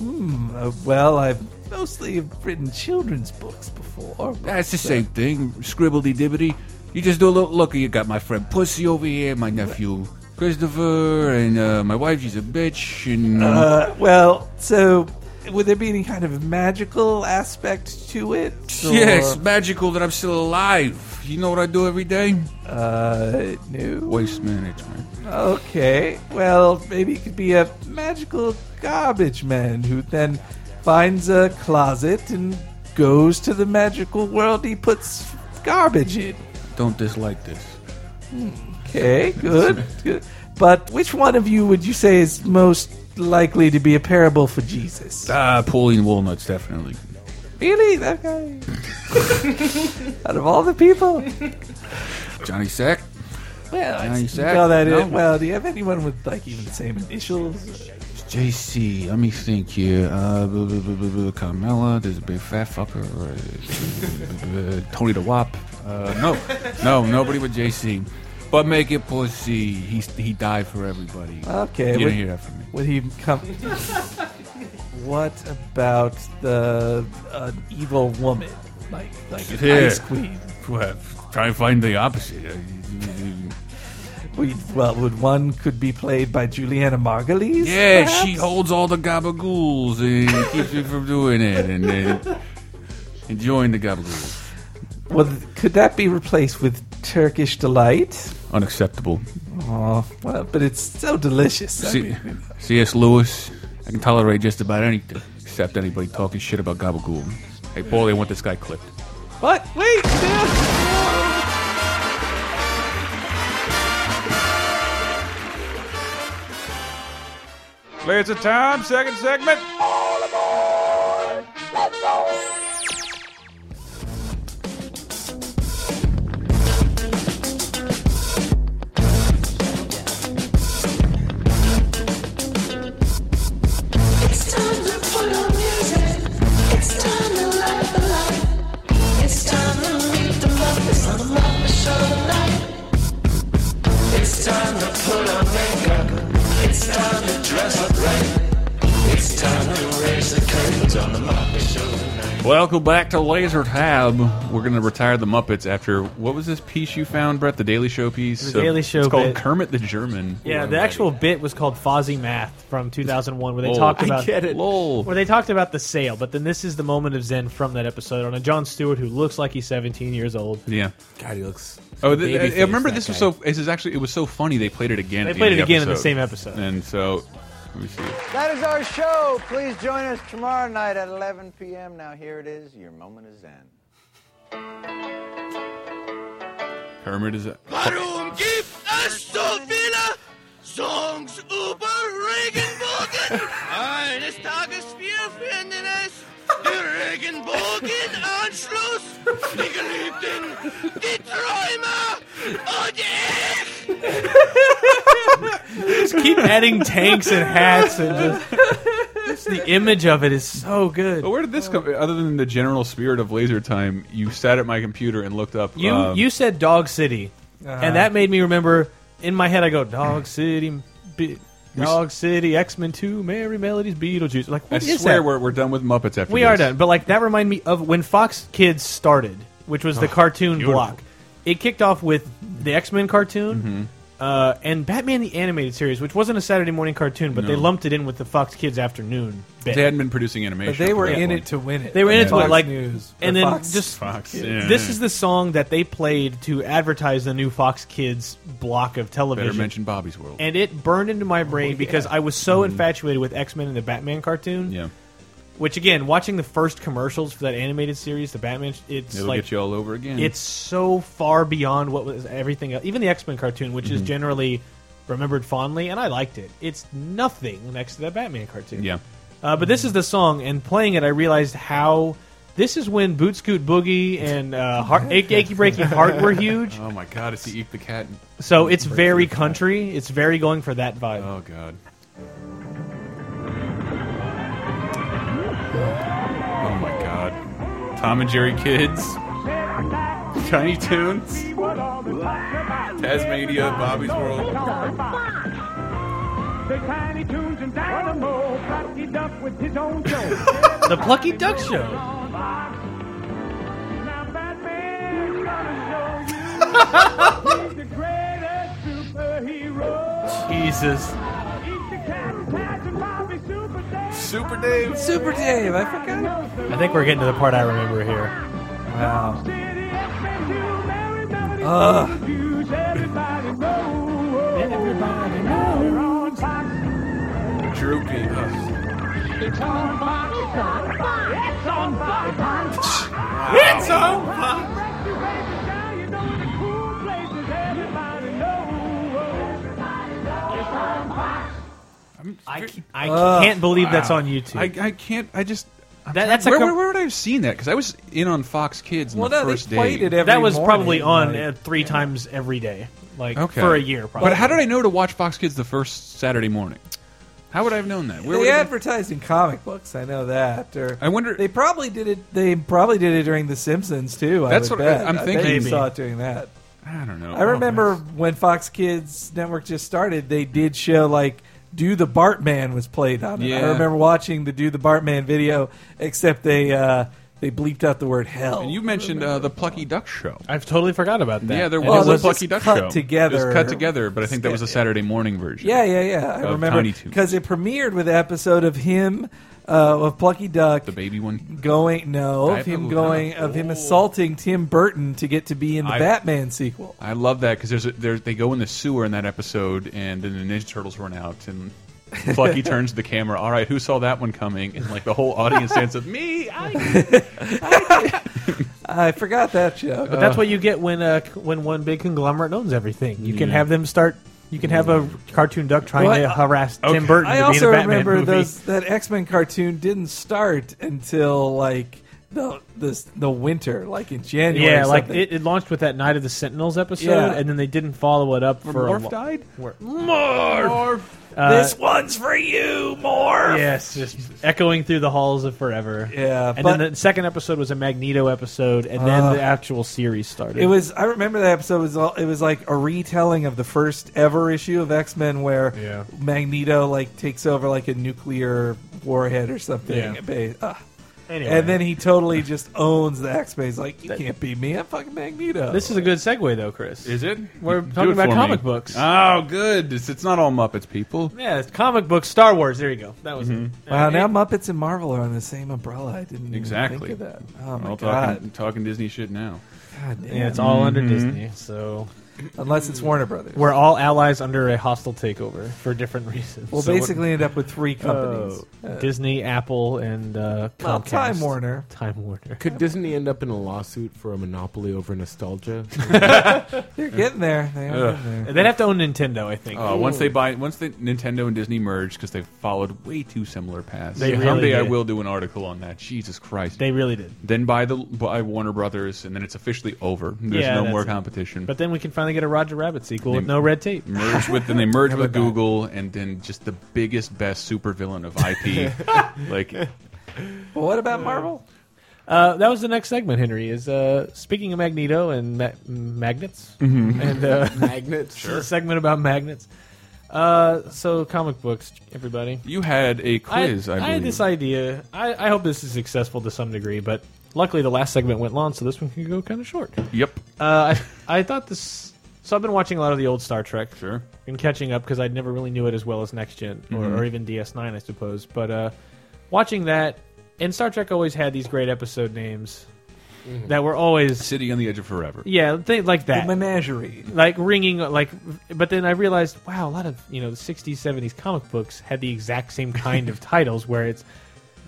Speaker 5: Uh, well, I've mostly have written children's books before.
Speaker 3: That's the same thing, scribbledy dibbity. You just do a little look. You got my friend Pussy over here, my nephew Christopher, and uh, my wife. She's a bitch. And
Speaker 5: Uh, well, so would there be any kind of magical aspect to it?
Speaker 3: yes,
Speaker 5: Or,
Speaker 3: magical that I'm still alive. You know what I do every day?
Speaker 5: Uh, no.
Speaker 3: Waste management.
Speaker 5: Okay. Well, maybe it could be a magical garbage man who then finds a closet and goes to the magical world he puts garbage in.
Speaker 3: Don't dislike this.
Speaker 5: Okay, good. good. But which one of you would you say is most likely to be a parable for Jesus?
Speaker 3: Ah, pulling walnuts definitely.
Speaker 5: Really? That guy? Out of all the people?
Speaker 3: Johnny Sack.
Speaker 5: Well, I
Speaker 3: Now you
Speaker 5: s-
Speaker 3: said-
Speaker 5: well, that is-
Speaker 3: no.
Speaker 5: well, do you have anyone with like even the same initials?
Speaker 3: JC, let me think here. Uh, blah, blah, blah, blah, blah, Carmella, there's a big fat fucker. Uh, Tony the Wop. Uh, no, no, nobody with JC. But make it pussy. He he died for everybody.
Speaker 5: Okay,
Speaker 3: you
Speaker 5: Uh, we-
Speaker 3: didn't hear that from me.
Speaker 5: Would he come? what about the uh, evil woman, like like an
Speaker 3: Yeah.
Speaker 5: ice queen?
Speaker 3: Well, try and find the opposite. Uh,
Speaker 5: We, well, would one could be played by Juliana Margulies?
Speaker 3: Yeah,
Speaker 5: perhaps?
Speaker 3: she holds all the gabagools and keeps me from doing it and, and enjoying the gabagools.
Speaker 5: Well, th- could that be replaced with Turkish delight?
Speaker 3: Unacceptable.
Speaker 5: Oh, well, but it's so delicious. I
Speaker 3: C-
Speaker 5: mean,
Speaker 3: C.S. Lewis. I can tolerate just about anything except anybody talking shit about Gabagool. Hey, Paul, they want this guy clipped.
Speaker 5: what? Wait. no.
Speaker 1: Clears the time, second segment.
Speaker 10: It's time to put on music. It's time to light the light. It's time to meet the Muppets on the Muppet Show tonight. It's time to put on makeup. It's time to dress up right. It's time to raise the curtains on the Muppet Show tonight.
Speaker 3: Welcome back to Laser Tab. We're going to retire the Muppets after what was this piece you found, Brett? The Daily Show piece?
Speaker 4: The Daily Show
Speaker 3: It's called
Speaker 4: bit.
Speaker 3: Kermit the German.
Speaker 4: Yeah, the actual bit was called Fozzie Math from 2001, where they
Speaker 3: Lol.
Speaker 4: talked
Speaker 3: I
Speaker 4: about
Speaker 6: get it.
Speaker 3: Lol.
Speaker 4: where they talked about the sale. But then this is the moment of zen from that episode on a John Stewart who looks like he's 17 years old.
Speaker 3: Yeah.
Speaker 6: God, he looks.
Speaker 3: Oh, th-
Speaker 6: baby
Speaker 3: I- I remember
Speaker 6: face,
Speaker 3: this
Speaker 6: that
Speaker 3: was
Speaker 6: guy.
Speaker 3: so. This is actually. It was so funny. They played it again.
Speaker 4: They
Speaker 3: at the
Speaker 4: played
Speaker 3: end
Speaker 4: it
Speaker 3: of the
Speaker 4: again in the same episode.
Speaker 3: And so, let me see.
Speaker 11: That is our show. Please join us tomorrow night at 11 p.m. Now, here it is. Your moment is in.
Speaker 3: Kermit is. A,
Speaker 8: Warum gibt es so viele Songs über Regenbogen? Eines Tages wir finden es, der Regenbogenanschluss, die Geliebten, die Träume und ich!
Speaker 4: Keep adding tanks and hats and just, just the image of it is so good.
Speaker 3: But where did this come? Other than the general spirit of laser time, you sat at my computer and looked up.
Speaker 4: You
Speaker 3: um,
Speaker 4: you said Dog City, and that made me remember. In my head, I go Dog City, Be- Dog City, X Men Two, Merry Melodies, Beetlejuice. Like
Speaker 3: I
Speaker 4: what is
Speaker 3: swear
Speaker 4: that?
Speaker 3: we're, we're done with Muppets after
Speaker 4: We
Speaker 3: this.
Speaker 4: are done, but like that reminded me of when Fox Kids started, which was the cartoon
Speaker 3: beautiful.
Speaker 4: block. It kicked off with the X Men cartoon.
Speaker 3: Mm-hmm.
Speaker 4: Uh, and Batman the animated series, which wasn't a Saturday morning cartoon, but they lumped it in with the Fox Kids afternoon. Bit.
Speaker 3: They hadn't been producing animation.
Speaker 5: But they
Speaker 3: up
Speaker 5: were
Speaker 3: to that
Speaker 5: in
Speaker 3: point.
Speaker 5: it to win it.
Speaker 4: They were in it to
Speaker 5: Fox
Speaker 4: win, like-
Speaker 5: News
Speaker 4: and
Speaker 5: or
Speaker 4: then
Speaker 5: Fox
Speaker 4: just
Speaker 3: Fox. Yeah.
Speaker 4: This is the song that they played to advertise the new Fox Kids block of
Speaker 3: better
Speaker 4: television.
Speaker 3: mention Bobby's World.
Speaker 4: And it burned into my brain because I was so infatuated with X Men and the Batman cartoon.
Speaker 3: yeah,
Speaker 4: Which again, watching the first commercials for that animated series, the Batman, it's
Speaker 3: it'll
Speaker 4: like
Speaker 3: get you all over again.
Speaker 4: it's so far beyond what was everything. Else. Even the X Men cartoon, which
Speaker 3: Mm-hmm.
Speaker 4: is generally remembered fondly, and I liked it. It's nothing next to that Batman cartoon.
Speaker 3: yeah. Mm-hmm.
Speaker 4: Uh, but this is the song, and playing it, I realized how this is when Boot Scoot Boogie and uh, heart, Ache- Achy Breaky Heart were huge.
Speaker 3: Oh my God! It's the Eat the Cat. and-
Speaker 4: So it's very country. It's very going for that vibe.
Speaker 3: Oh God. Oh my God. Tom and Jerry Kids. Tiny Toons. Tasmania, Bobby's World.
Speaker 10: Fox. The Tiny Toons and Dynamo, Plucky Duck with his own show.
Speaker 3: Oh.
Speaker 4: The Plucky Duck Show. Jesus.
Speaker 10: Super Dave.
Speaker 5: Super Dave, I forgot.
Speaker 4: I think we're getting to the part I remember here.
Speaker 5: Wow.
Speaker 10: Ugh.
Speaker 3: Droopy. Ugh.
Speaker 10: It's on Fox. It's on Fox. It's on Fox.
Speaker 4: I, c- I
Speaker 5: Ugh,
Speaker 4: can't believe that's
Speaker 3: wow.
Speaker 4: on YouTube.
Speaker 3: I, I can't. I just. I'm
Speaker 4: That-
Speaker 3: trying-
Speaker 4: that's a
Speaker 3: where,
Speaker 4: com-
Speaker 3: where, where would I have seen that? Because I was in on Fox Kids in
Speaker 5: Well,
Speaker 3: the
Speaker 5: no, they
Speaker 3: first
Speaker 5: played
Speaker 3: day.
Speaker 5: it every
Speaker 4: that was
Speaker 5: morning,
Speaker 4: probably on
Speaker 5: like-
Speaker 4: uh, three times every day, like
Speaker 3: Okay.
Speaker 4: for a year. Probably.
Speaker 3: But how did I know to watch Fox Kids the first Saturday morning? How would I have known that? Where
Speaker 5: they
Speaker 3: would I have-
Speaker 5: advertised in comic books. I know that. Or
Speaker 3: I wonder.
Speaker 5: they probably did it. They probably did it during The Simpsons too.
Speaker 3: That's
Speaker 5: I would
Speaker 3: what I-
Speaker 5: bet.
Speaker 3: I'm
Speaker 5: I bet
Speaker 3: thinking.
Speaker 5: you
Speaker 3: Maybe.
Speaker 5: saw it doing that.
Speaker 3: I don't know. Oh,
Speaker 5: I remember when Fox Kids Network just started, they did show like "Do the Bartman" was played on it.
Speaker 3: Yeah.
Speaker 5: I remember watching the "Do the Bartman" video, except they uh, they bleeped out the word "hell."
Speaker 3: And you mentioned uh, the Plucky Duck Show.
Speaker 4: I've totally forgot about that.
Speaker 3: Yeah, there
Speaker 4: And
Speaker 5: Well,
Speaker 3: was
Speaker 5: it
Speaker 3: a
Speaker 5: was
Speaker 3: Plucky
Speaker 5: just
Speaker 3: Duck
Speaker 5: cut
Speaker 3: Show.
Speaker 5: together.
Speaker 3: It was cut together, but I think that was a Saturday morning version.
Speaker 5: yeah, yeah, yeah. I
Speaker 3: Of
Speaker 5: remember
Speaker 3: Oh, Tiny Toons.
Speaker 5: because it premiered with an episode of him uh, of Plucky Duck
Speaker 3: The baby one.
Speaker 5: going no of
Speaker 3: Diaper
Speaker 5: him
Speaker 3: Loop,
Speaker 5: going
Speaker 3: huh?
Speaker 5: of him assaulting Tim Burton to get to be in the
Speaker 3: I-
Speaker 5: Batman sequel.
Speaker 3: I love that because there's, a, there's they go in the sewer in that episode, and then the Ninja Turtles run out, and Plucky turns to the camera. All right, who saw that one coming? And like the whole audience stands up. Me, I.
Speaker 5: I forgot that joke.
Speaker 3: Oh,
Speaker 4: But that's what you get when uh, c- when one big conglomerate owns everything. You can have them start. You can have a cartoon duck trying
Speaker 5: Well,
Speaker 4: to
Speaker 5: I-
Speaker 4: harass Tim Burton.
Speaker 5: I
Speaker 4: to
Speaker 5: also
Speaker 4: be in a Batman
Speaker 5: remember
Speaker 4: movie.
Speaker 5: those that X Men cartoon didn't start until like the the the winter, like in January.
Speaker 4: Yeah,
Speaker 5: or
Speaker 4: like
Speaker 5: something.
Speaker 4: it, it launched with that Night of the Sentinels episode,
Speaker 5: Yeah.
Speaker 4: and then they didn't follow it up for a
Speaker 3: Morph
Speaker 4: lo-
Speaker 3: died.
Speaker 4: Where-
Speaker 3: Morph.
Speaker 4: uh,
Speaker 5: this one's for you, more.
Speaker 4: Yes, just echoing through the halls of forever.
Speaker 5: Yeah,
Speaker 4: and
Speaker 5: but-
Speaker 4: then the second episode was a Magneto episode, and then
Speaker 5: Uh,
Speaker 4: the actual series started.
Speaker 5: It was. I remember that episode was. All, it was like a retelling of the first ever issue of X Men, where
Speaker 4: Yeah.
Speaker 5: Magneto like takes over like a nuclear warhead or something.
Speaker 4: Yeah.
Speaker 5: Ba- ah.
Speaker 4: anyway.
Speaker 5: And then he totally just owns the X Men. He's like, you can't beat me. I'm fucking Magneto.
Speaker 4: this is a good segue, though, Chris.
Speaker 3: Is it?
Speaker 4: We're
Speaker 3: Do
Speaker 4: talking
Speaker 3: it
Speaker 4: about
Speaker 3: for me.
Speaker 4: comic books.
Speaker 3: Oh, good. It's, it's not all Muppets, people.
Speaker 4: yeah, it's comic book Star Wars. There you go. That was
Speaker 3: Mm-hmm.
Speaker 4: it.
Speaker 5: Wow,
Speaker 4: Uh,
Speaker 5: now
Speaker 4: it-
Speaker 5: Muppets and Marvel are on the same umbrella. I didn't even
Speaker 3: Exactly.
Speaker 5: think of that.
Speaker 3: We're
Speaker 5: Oh my
Speaker 3: all
Speaker 5: god!
Speaker 3: talking, talking Disney shit now.
Speaker 5: God damn.
Speaker 4: yeah, it's all under
Speaker 3: mm-hmm.
Speaker 4: Disney, so
Speaker 5: Unless it's Warner Brothers,
Speaker 4: we're all allies under a hostile takeover for different reasons.
Speaker 5: we'll basically end up with
Speaker 4: Oh.
Speaker 5: three companies. Uh,
Speaker 4: Disney, Apple, and uh, Comcast.
Speaker 5: well, Time Warner.
Speaker 4: Time Warner.
Speaker 6: Could Disney end up in a lawsuit for a monopoly over nostalgia?
Speaker 5: They're getting there. They are
Speaker 3: Ugh.
Speaker 5: getting there.
Speaker 4: They'd have to own Nintendo, I think.
Speaker 3: Uh, once they buy, once the Nintendo and Disney merge, because they've followed way too similar paths.
Speaker 4: They really
Speaker 3: Someday I
Speaker 4: did.
Speaker 3: will do an article on that. Jesus Christ!
Speaker 4: They really did.
Speaker 3: then buy the buy Warner Brothers, and then it's officially over. There's
Speaker 4: Yeah,
Speaker 3: no
Speaker 4: that's
Speaker 3: more
Speaker 4: it.
Speaker 3: competition.
Speaker 4: But then we can finally get a Roger Rabbit sequel with
Speaker 3: They-
Speaker 4: no red tape.
Speaker 3: merge with then they merge with Google, and then just the biggest best supervillain of IP. like
Speaker 5: But what about Marvel?
Speaker 4: Uh, that was the next segment, Henry. Is uh, speaking of Magneto and ma- magnets,
Speaker 3: Mm-hmm.
Speaker 4: and uh,
Speaker 6: Magnets.
Speaker 4: the segment about magnets. Uh, so comic books, everybody.
Speaker 3: you had a quiz, I,
Speaker 4: I,
Speaker 3: believe.
Speaker 4: had this idea. I, I hope this is successful to some degree, but luckily the last segment went long, so this one can go kind of short.
Speaker 3: Yep.
Speaker 4: Uh, I, I thought this. So I've been watching a lot of the old Star Trek.
Speaker 3: Sure. Mm-hmm.
Speaker 4: and catching up because I never really knew it as well as Next general or, or even DS9, I suppose. But uh, watching that, and Star Trek always had these great episode names
Speaker 3: Mm-hmm.
Speaker 4: that were always
Speaker 3: City on the Edge of Forever.
Speaker 4: yeah, things like
Speaker 5: The
Speaker 4: that,
Speaker 5: Menagerie.
Speaker 4: like ringing like. But then I realized, wow, a lot of you know the '60s, '70s comic books had the exact same kind of titles where it's.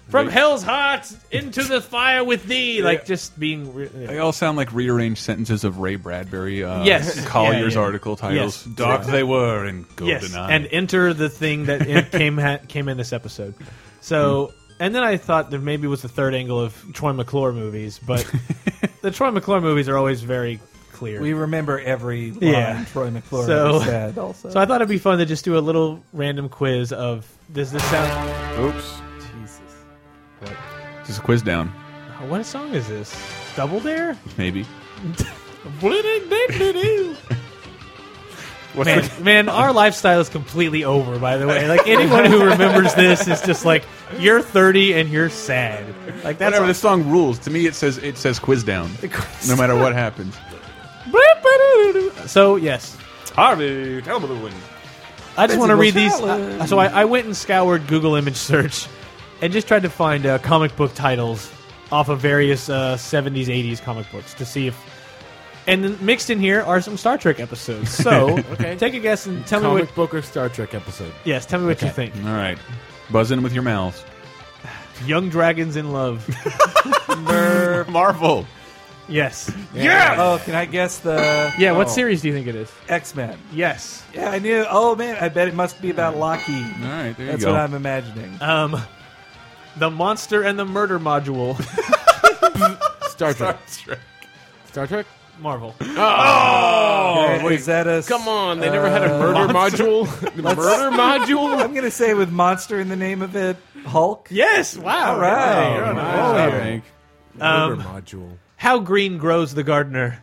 Speaker 4: From
Speaker 3: Right.
Speaker 4: hell's hot into the fire with thee, like just being. Re-
Speaker 3: They all sound like rearranged sentences of Ray Bradbury. Uh,
Speaker 4: Yes.
Speaker 3: Collier's
Speaker 4: Yeah, yeah.
Speaker 3: article titles.
Speaker 4: Yes.
Speaker 3: Dark they were and golden
Speaker 4: yes, and enter the thing that in- came ha- came in this episode. So, and then I thought there maybe was the third angle of Troy McClure movies, but the Troy McClure movies are always very clear.
Speaker 5: We remember every line
Speaker 4: Yeah.
Speaker 5: Troy McClure
Speaker 4: So-
Speaker 5: said. Also,
Speaker 4: so I thought it'd be fun to just do a little random quiz of does this sound?
Speaker 6: Oops.
Speaker 5: Jesus.
Speaker 3: Just a quiz down,
Speaker 4: What song is this? Double Dare?
Speaker 3: maybe.
Speaker 4: Blitty, blitty, blitty.
Speaker 3: What's
Speaker 4: man,
Speaker 3: the-
Speaker 4: man, our lifestyle is completely over. By the way, like anyone who remembers this is just like you're 30 and you're sad. Like that's
Speaker 3: Whatever, this song rules. To me, it says it says quiz down. no matter what happens.
Speaker 4: So yes,
Speaker 3: Harvey, tell me the win.
Speaker 4: I just want
Speaker 3: Physical
Speaker 4: to read these.
Speaker 3: challenge.
Speaker 4: uh, so I, I went and scoured Google image search, and just tried to find uh, comic book titles off of various uh, '70s, '80s comic books to see if. And then mixed in here are some Star Trek episodes. So
Speaker 6: Okay.
Speaker 4: take a guess and tell me
Speaker 6: Comic
Speaker 4: what.
Speaker 6: book or Star Trek episode.
Speaker 4: Yes, tell me what you
Speaker 6: Okay.
Speaker 4: think.
Speaker 3: All right, buzz in with your mouths.
Speaker 4: Young Dragons in Love.
Speaker 3: Marvel.
Speaker 4: Yes.
Speaker 5: Yeah. Oh, can I guess the?
Speaker 4: Yeah. What
Speaker 5: oh,
Speaker 4: series do you think it is?
Speaker 5: X Men.
Speaker 4: Yes.
Speaker 5: Yeah, I knew. Oh man, I bet it must be about Lockheed.
Speaker 3: All right, there
Speaker 5: That's
Speaker 3: you go. Uh,
Speaker 5: what I'm imagining.
Speaker 4: Um, the Monster and the Murder Module.
Speaker 6: Star Trek. Star Trek.
Speaker 4: Marvel.
Speaker 5: Okay,
Speaker 6: Oh,
Speaker 5: is that a? s-
Speaker 6: Come on! They never had a murder module. The murder module.
Speaker 5: I'm gonna say with monster in the name of it, Hulk.
Speaker 4: Yes. Wow.
Speaker 5: All right.
Speaker 4: Hey, you're on a
Speaker 6: Wow.
Speaker 4: roll here.
Speaker 3: Frank.
Speaker 6: Murder module.
Speaker 4: How green grows the gardener.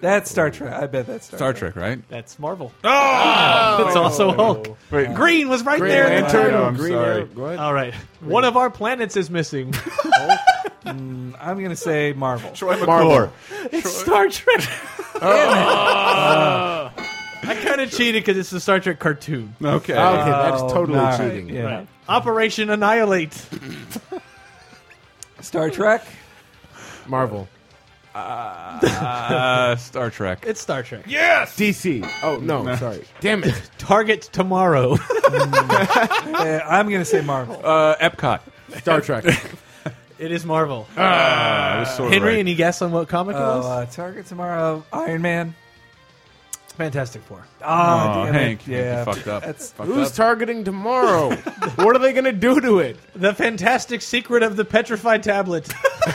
Speaker 5: That's Star Trek. I bet that's Star,
Speaker 3: Star Trek, right?
Speaker 4: That's Marvel. Oh, that's also Hulk.
Speaker 3: Wait,
Speaker 4: Green was right
Speaker 6: Green
Speaker 4: there. at the
Speaker 6: Lantern. Uh,
Speaker 3: Oh, I'm
Speaker 6: Green
Speaker 3: sorry.
Speaker 6: Arrow. What?
Speaker 4: All right. One of our planets is missing.
Speaker 5: Trek. I'm gonna say Marvel.
Speaker 3: Troy McClure.
Speaker 4: It's Star Trek. Uh, I kind of cheated because it's the Star Trek cartoon.
Speaker 3: Okay.
Speaker 6: Okay, that's
Speaker 5: Oh,
Speaker 6: totally
Speaker 5: all right,
Speaker 6: cheating.
Speaker 5: yeah.
Speaker 4: Right. Operation Annihilate.
Speaker 5: Star Trek.
Speaker 6: Marvel.
Speaker 3: Uh, Star Trek.
Speaker 4: It's Star Trek.
Speaker 6: DC. Oh no, sorry. Damn it.
Speaker 4: Target tomorrow.
Speaker 5: Uh, I'm gonna say Marvel.
Speaker 3: Uh, Epcot.
Speaker 6: Star Trek.
Speaker 4: it is Marvel.
Speaker 3: I was sort of
Speaker 4: Henry,
Speaker 3: right.
Speaker 4: any guess on what comic it
Speaker 5: Oh,
Speaker 4: was?
Speaker 5: uh, Target tomorrow. Iron Man.
Speaker 4: Fantastic Four.
Speaker 5: Oh,
Speaker 3: Oh,
Speaker 5: damn
Speaker 3: Hank,
Speaker 5: it. Yeah.
Speaker 3: you fucked up.
Speaker 5: That's-
Speaker 3: Fucked
Speaker 6: Who's
Speaker 3: up.
Speaker 6: targeting tomorrow? what are they gonna do to it?
Speaker 4: The Fantastic Secret of the Petrified Tablet.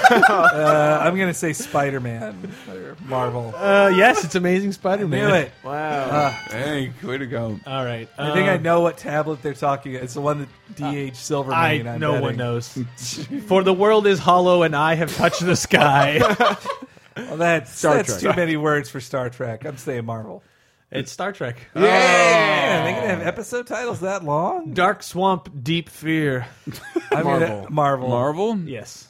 Speaker 5: Uh, I'm gonna say Spider Man or Marvel.
Speaker 4: Uh, yes, it's Amazing Spider-Man.
Speaker 5: Knew it.
Speaker 3: Hank, way to go.
Speaker 4: All right. Um,
Speaker 5: I think I know what tablet they're talking. It's the one that D.H. Silverman.
Speaker 4: I
Speaker 5: I'm
Speaker 4: no one
Speaker 5: betting.
Speaker 4: knows. For the world is hollow, and I have touched the sky.
Speaker 5: Well, that's
Speaker 6: Star
Speaker 5: that's
Speaker 6: Trek.
Speaker 5: too many words for Star Trek. I'm saying Marvel.
Speaker 4: it's Star Trek. Uh,
Speaker 5: Yeah, are they gonna have episode titles that long?
Speaker 4: Dark swamp, deep fear.
Speaker 5: I'm gonna-
Speaker 6: Marvel.
Speaker 5: Marvel.
Speaker 3: Marvel?
Speaker 4: Yes.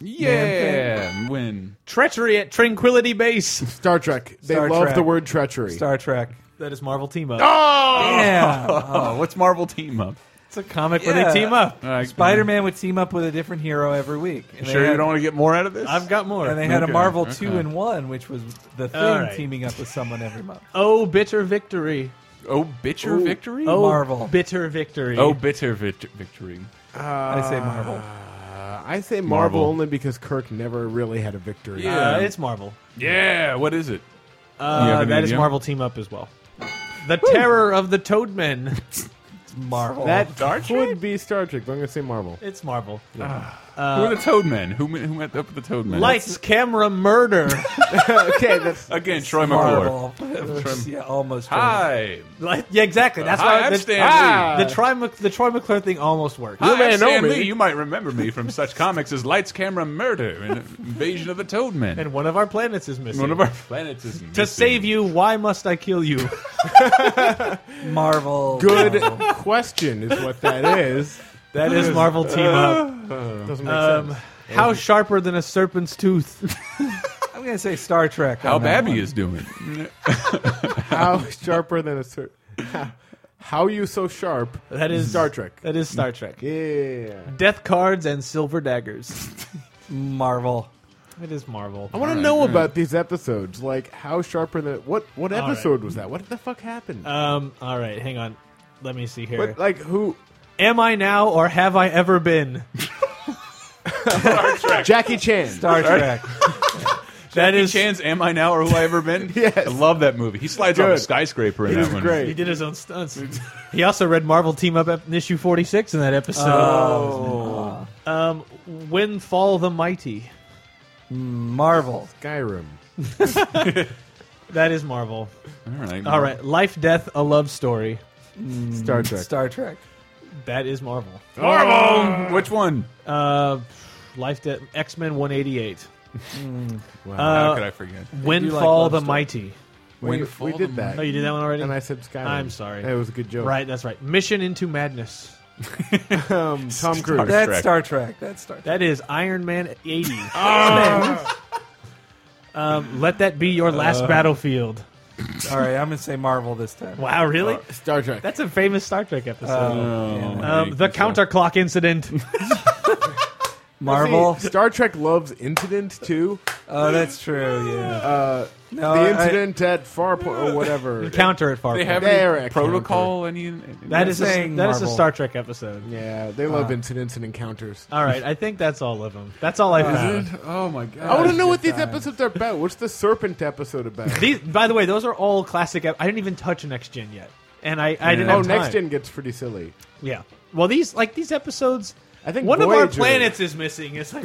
Speaker 3: Yeah. Win.
Speaker 4: Treachery at Tranquility Base.
Speaker 6: Star Trek. They
Speaker 5: Star
Speaker 6: love
Speaker 5: Trek.
Speaker 6: the word treachery.
Speaker 5: Star Trek.
Speaker 4: That is Marvel team up.
Speaker 5: Yeah.
Speaker 3: Oh, what's Marvel team up?
Speaker 4: It's a comic
Speaker 5: Yeah.
Speaker 4: where they team up.
Speaker 3: All right,
Speaker 5: Spider Man would team up with a different hero every week. And they
Speaker 3: Sure, you
Speaker 5: had-
Speaker 3: don't want to get more out of this?
Speaker 4: I've got more.
Speaker 5: And they had
Speaker 3: Okay,
Speaker 5: a Marvel
Speaker 3: okay.
Speaker 5: two in one, which was the thing
Speaker 4: All right.
Speaker 5: teaming up with someone every month.
Speaker 4: oh, bitter victory.
Speaker 3: Oh, bitter
Speaker 5: Ooh.
Speaker 3: victory?
Speaker 4: Oh,
Speaker 5: Marvel.
Speaker 4: bitter victory.
Speaker 3: Oh, bitter vict- victory.
Speaker 5: I say Marvel.
Speaker 6: Uh, I say Marvel,
Speaker 3: Marvel.
Speaker 6: only because Kirk never really had a victory.
Speaker 4: Uh, it's Marvel.
Speaker 3: Yeah, what is it? You have
Speaker 4: Uh,
Speaker 3: any
Speaker 4: that is
Speaker 3: idea?
Speaker 4: Marvel team up as well. The terror of the Toadmen.
Speaker 5: Marvel.
Speaker 6: That would be Star Trek, but I'm going to say Marvel.
Speaker 4: It's Marvel. Uh-huh.
Speaker 3: who are the Toad Men? Who, ma- who met up with the Toad Men?
Speaker 4: Lights, camera, murder.
Speaker 6: okay, that's
Speaker 3: Again, Troy McClure.
Speaker 5: Marvel. yeah, almost.
Speaker 3: Hi.
Speaker 4: Like- yeah, exactly. That's
Speaker 3: Hi,
Speaker 4: why
Speaker 3: I'm
Speaker 4: the,
Speaker 3: Stan
Speaker 4: ah,
Speaker 3: Lee.
Speaker 4: the Troy Mc, the Troy McClure thing almost worked.
Speaker 3: Hi,
Speaker 6: may
Speaker 3: I'm
Speaker 6: know
Speaker 3: Stan
Speaker 6: me.
Speaker 3: Lee. You might remember me from such comics as Lights, Camera, Murder and Invasion of the Toad Men.
Speaker 4: And one of our planets is missing.
Speaker 3: one of our planets is
Speaker 4: to
Speaker 3: missing.
Speaker 4: save you, why must I kill you?
Speaker 5: Marvel.
Speaker 6: good
Speaker 5: Marvel.
Speaker 6: question, is what that is.
Speaker 4: That is Marvel team
Speaker 3: Uh,
Speaker 4: up.
Speaker 6: Doesn't make
Speaker 4: Um,
Speaker 6: sense.
Speaker 4: how sharper than a serpent's tooth?
Speaker 5: I'm gonna say Star Trek.
Speaker 3: How
Speaker 5: on that
Speaker 3: Babby
Speaker 5: one.
Speaker 3: is doing.
Speaker 6: How sharper than a cer How, how you so sharp?
Speaker 4: That is
Speaker 6: Star Trek.
Speaker 4: That is
Speaker 3: Mm.
Speaker 4: Star Trek.
Speaker 6: Yeah.
Speaker 4: Death cards and silver daggers.
Speaker 5: Marvel.
Speaker 4: it is Marvel.
Speaker 6: I want to know about these episodes. Like, how sharper than what? What
Speaker 4: All right.
Speaker 6: episode was that? What the fuck happened?
Speaker 4: Um. All right. Hang on. Let me see here.
Speaker 6: what, like, who?
Speaker 4: Am I now or have I ever been?
Speaker 6: Jackie Chan.
Speaker 5: Star Trek.
Speaker 4: That
Speaker 3: Jackie
Speaker 4: is.
Speaker 3: Chan's Am I Now or Who I Ever Been?
Speaker 6: Yes.
Speaker 3: I love that movie. He slides off a
Speaker 6: Good.
Speaker 3: skyscraper in
Speaker 6: It
Speaker 3: that
Speaker 6: is
Speaker 3: one.
Speaker 6: great.
Speaker 4: He did his own stunts. he also read Marvel Team Up ep- in issue 46 in that episode. Um, when Fall the Mighty.
Speaker 5: Marvel.
Speaker 6: Skyrim.
Speaker 4: That is Marvel.
Speaker 3: All right.
Speaker 4: All right. Life, Death, a Love Story.
Speaker 6: Star Trek.
Speaker 5: Star Trek.
Speaker 4: That is Marvel.
Speaker 3: Marvel! Which one?
Speaker 4: Uh, Life, Death, X Men 188.
Speaker 6: wow.
Speaker 3: How
Speaker 4: Uh,
Speaker 3: could I forget?
Speaker 4: When
Speaker 5: do like
Speaker 4: Fall
Speaker 5: Love
Speaker 4: the
Speaker 5: Story.
Speaker 4: Mighty.
Speaker 6: We,
Speaker 4: Wait,
Speaker 6: we did that.
Speaker 4: Oh, you did that one already?
Speaker 6: And I said Skyrim.
Speaker 4: I'm sorry.
Speaker 6: That was a good joke.
Speaker 4: Right, that's right. Mission into Madness.
Speaker 6: um, Tom Cruise.
Speaker 5: That's Star Trek. That's Star Trek.
Speaker 4: That is Iron Man 80.
Speaker 5: Oh.
Speaker 4: um, let that be your last
Speaker 5: Uh.
Speaker 4: battlefield.
Speaker 5: All right, I'm gonna say Marvel this time.
Speaker 4: Wow, really?
Speaker 6: Star Trek.
Speaker 4: That's a famous Star Trek episode.
Speaker 5: Oh, yeah.
Speaker 4: um, the counterclock incident.
Speaker 5: Marvel.
Speaker 6: See, Star Trek loves incident too.
Speaker 5: Oh, that's true. Yeah.
Speaker 6: Uh,
Speaker 5: No, I-
Speaker 6: the incident at Farpoint or whatever.
Speaker 4: Encounter at Farpoint.
Speaker 3: They have
Speaker 6: They're
Speaker 3: any
Speaker 6: at
Speaker 3: protocol? Any?
Speaker 4: That is a, that
Speaker 5: saying
Speaker 4: is a
Speaker 5: Marvel.
Speaker 4: Star Trek episode.
Speaker 6: Yeah, they love
Speaker 5: Uh.
Speaker 6: incidents and encounters.
Speaker 4: All right, I think that's all of them. That's all I found.
Speaker 3: Is it? Oh my god!
Speaker 6: I want to know what these
Speaker 5: time.
Speaker 6: episodes are about. What's the serpent episode about?
Speaker 4: These, by the way, those are all classic. ep- I didn't even touch Next Gen yet, and I, I didn't.
Speaker 6: oh,
Speaker 4: have time.
Speaker 6: next gen gets pretty silly.
Speaker 4: Yeah. Well, these like these episodes.
Speaker 6: I think
Speaker 4: one of our
Speaker 6: Voyager-
Speaker 4: planets is missing. It's like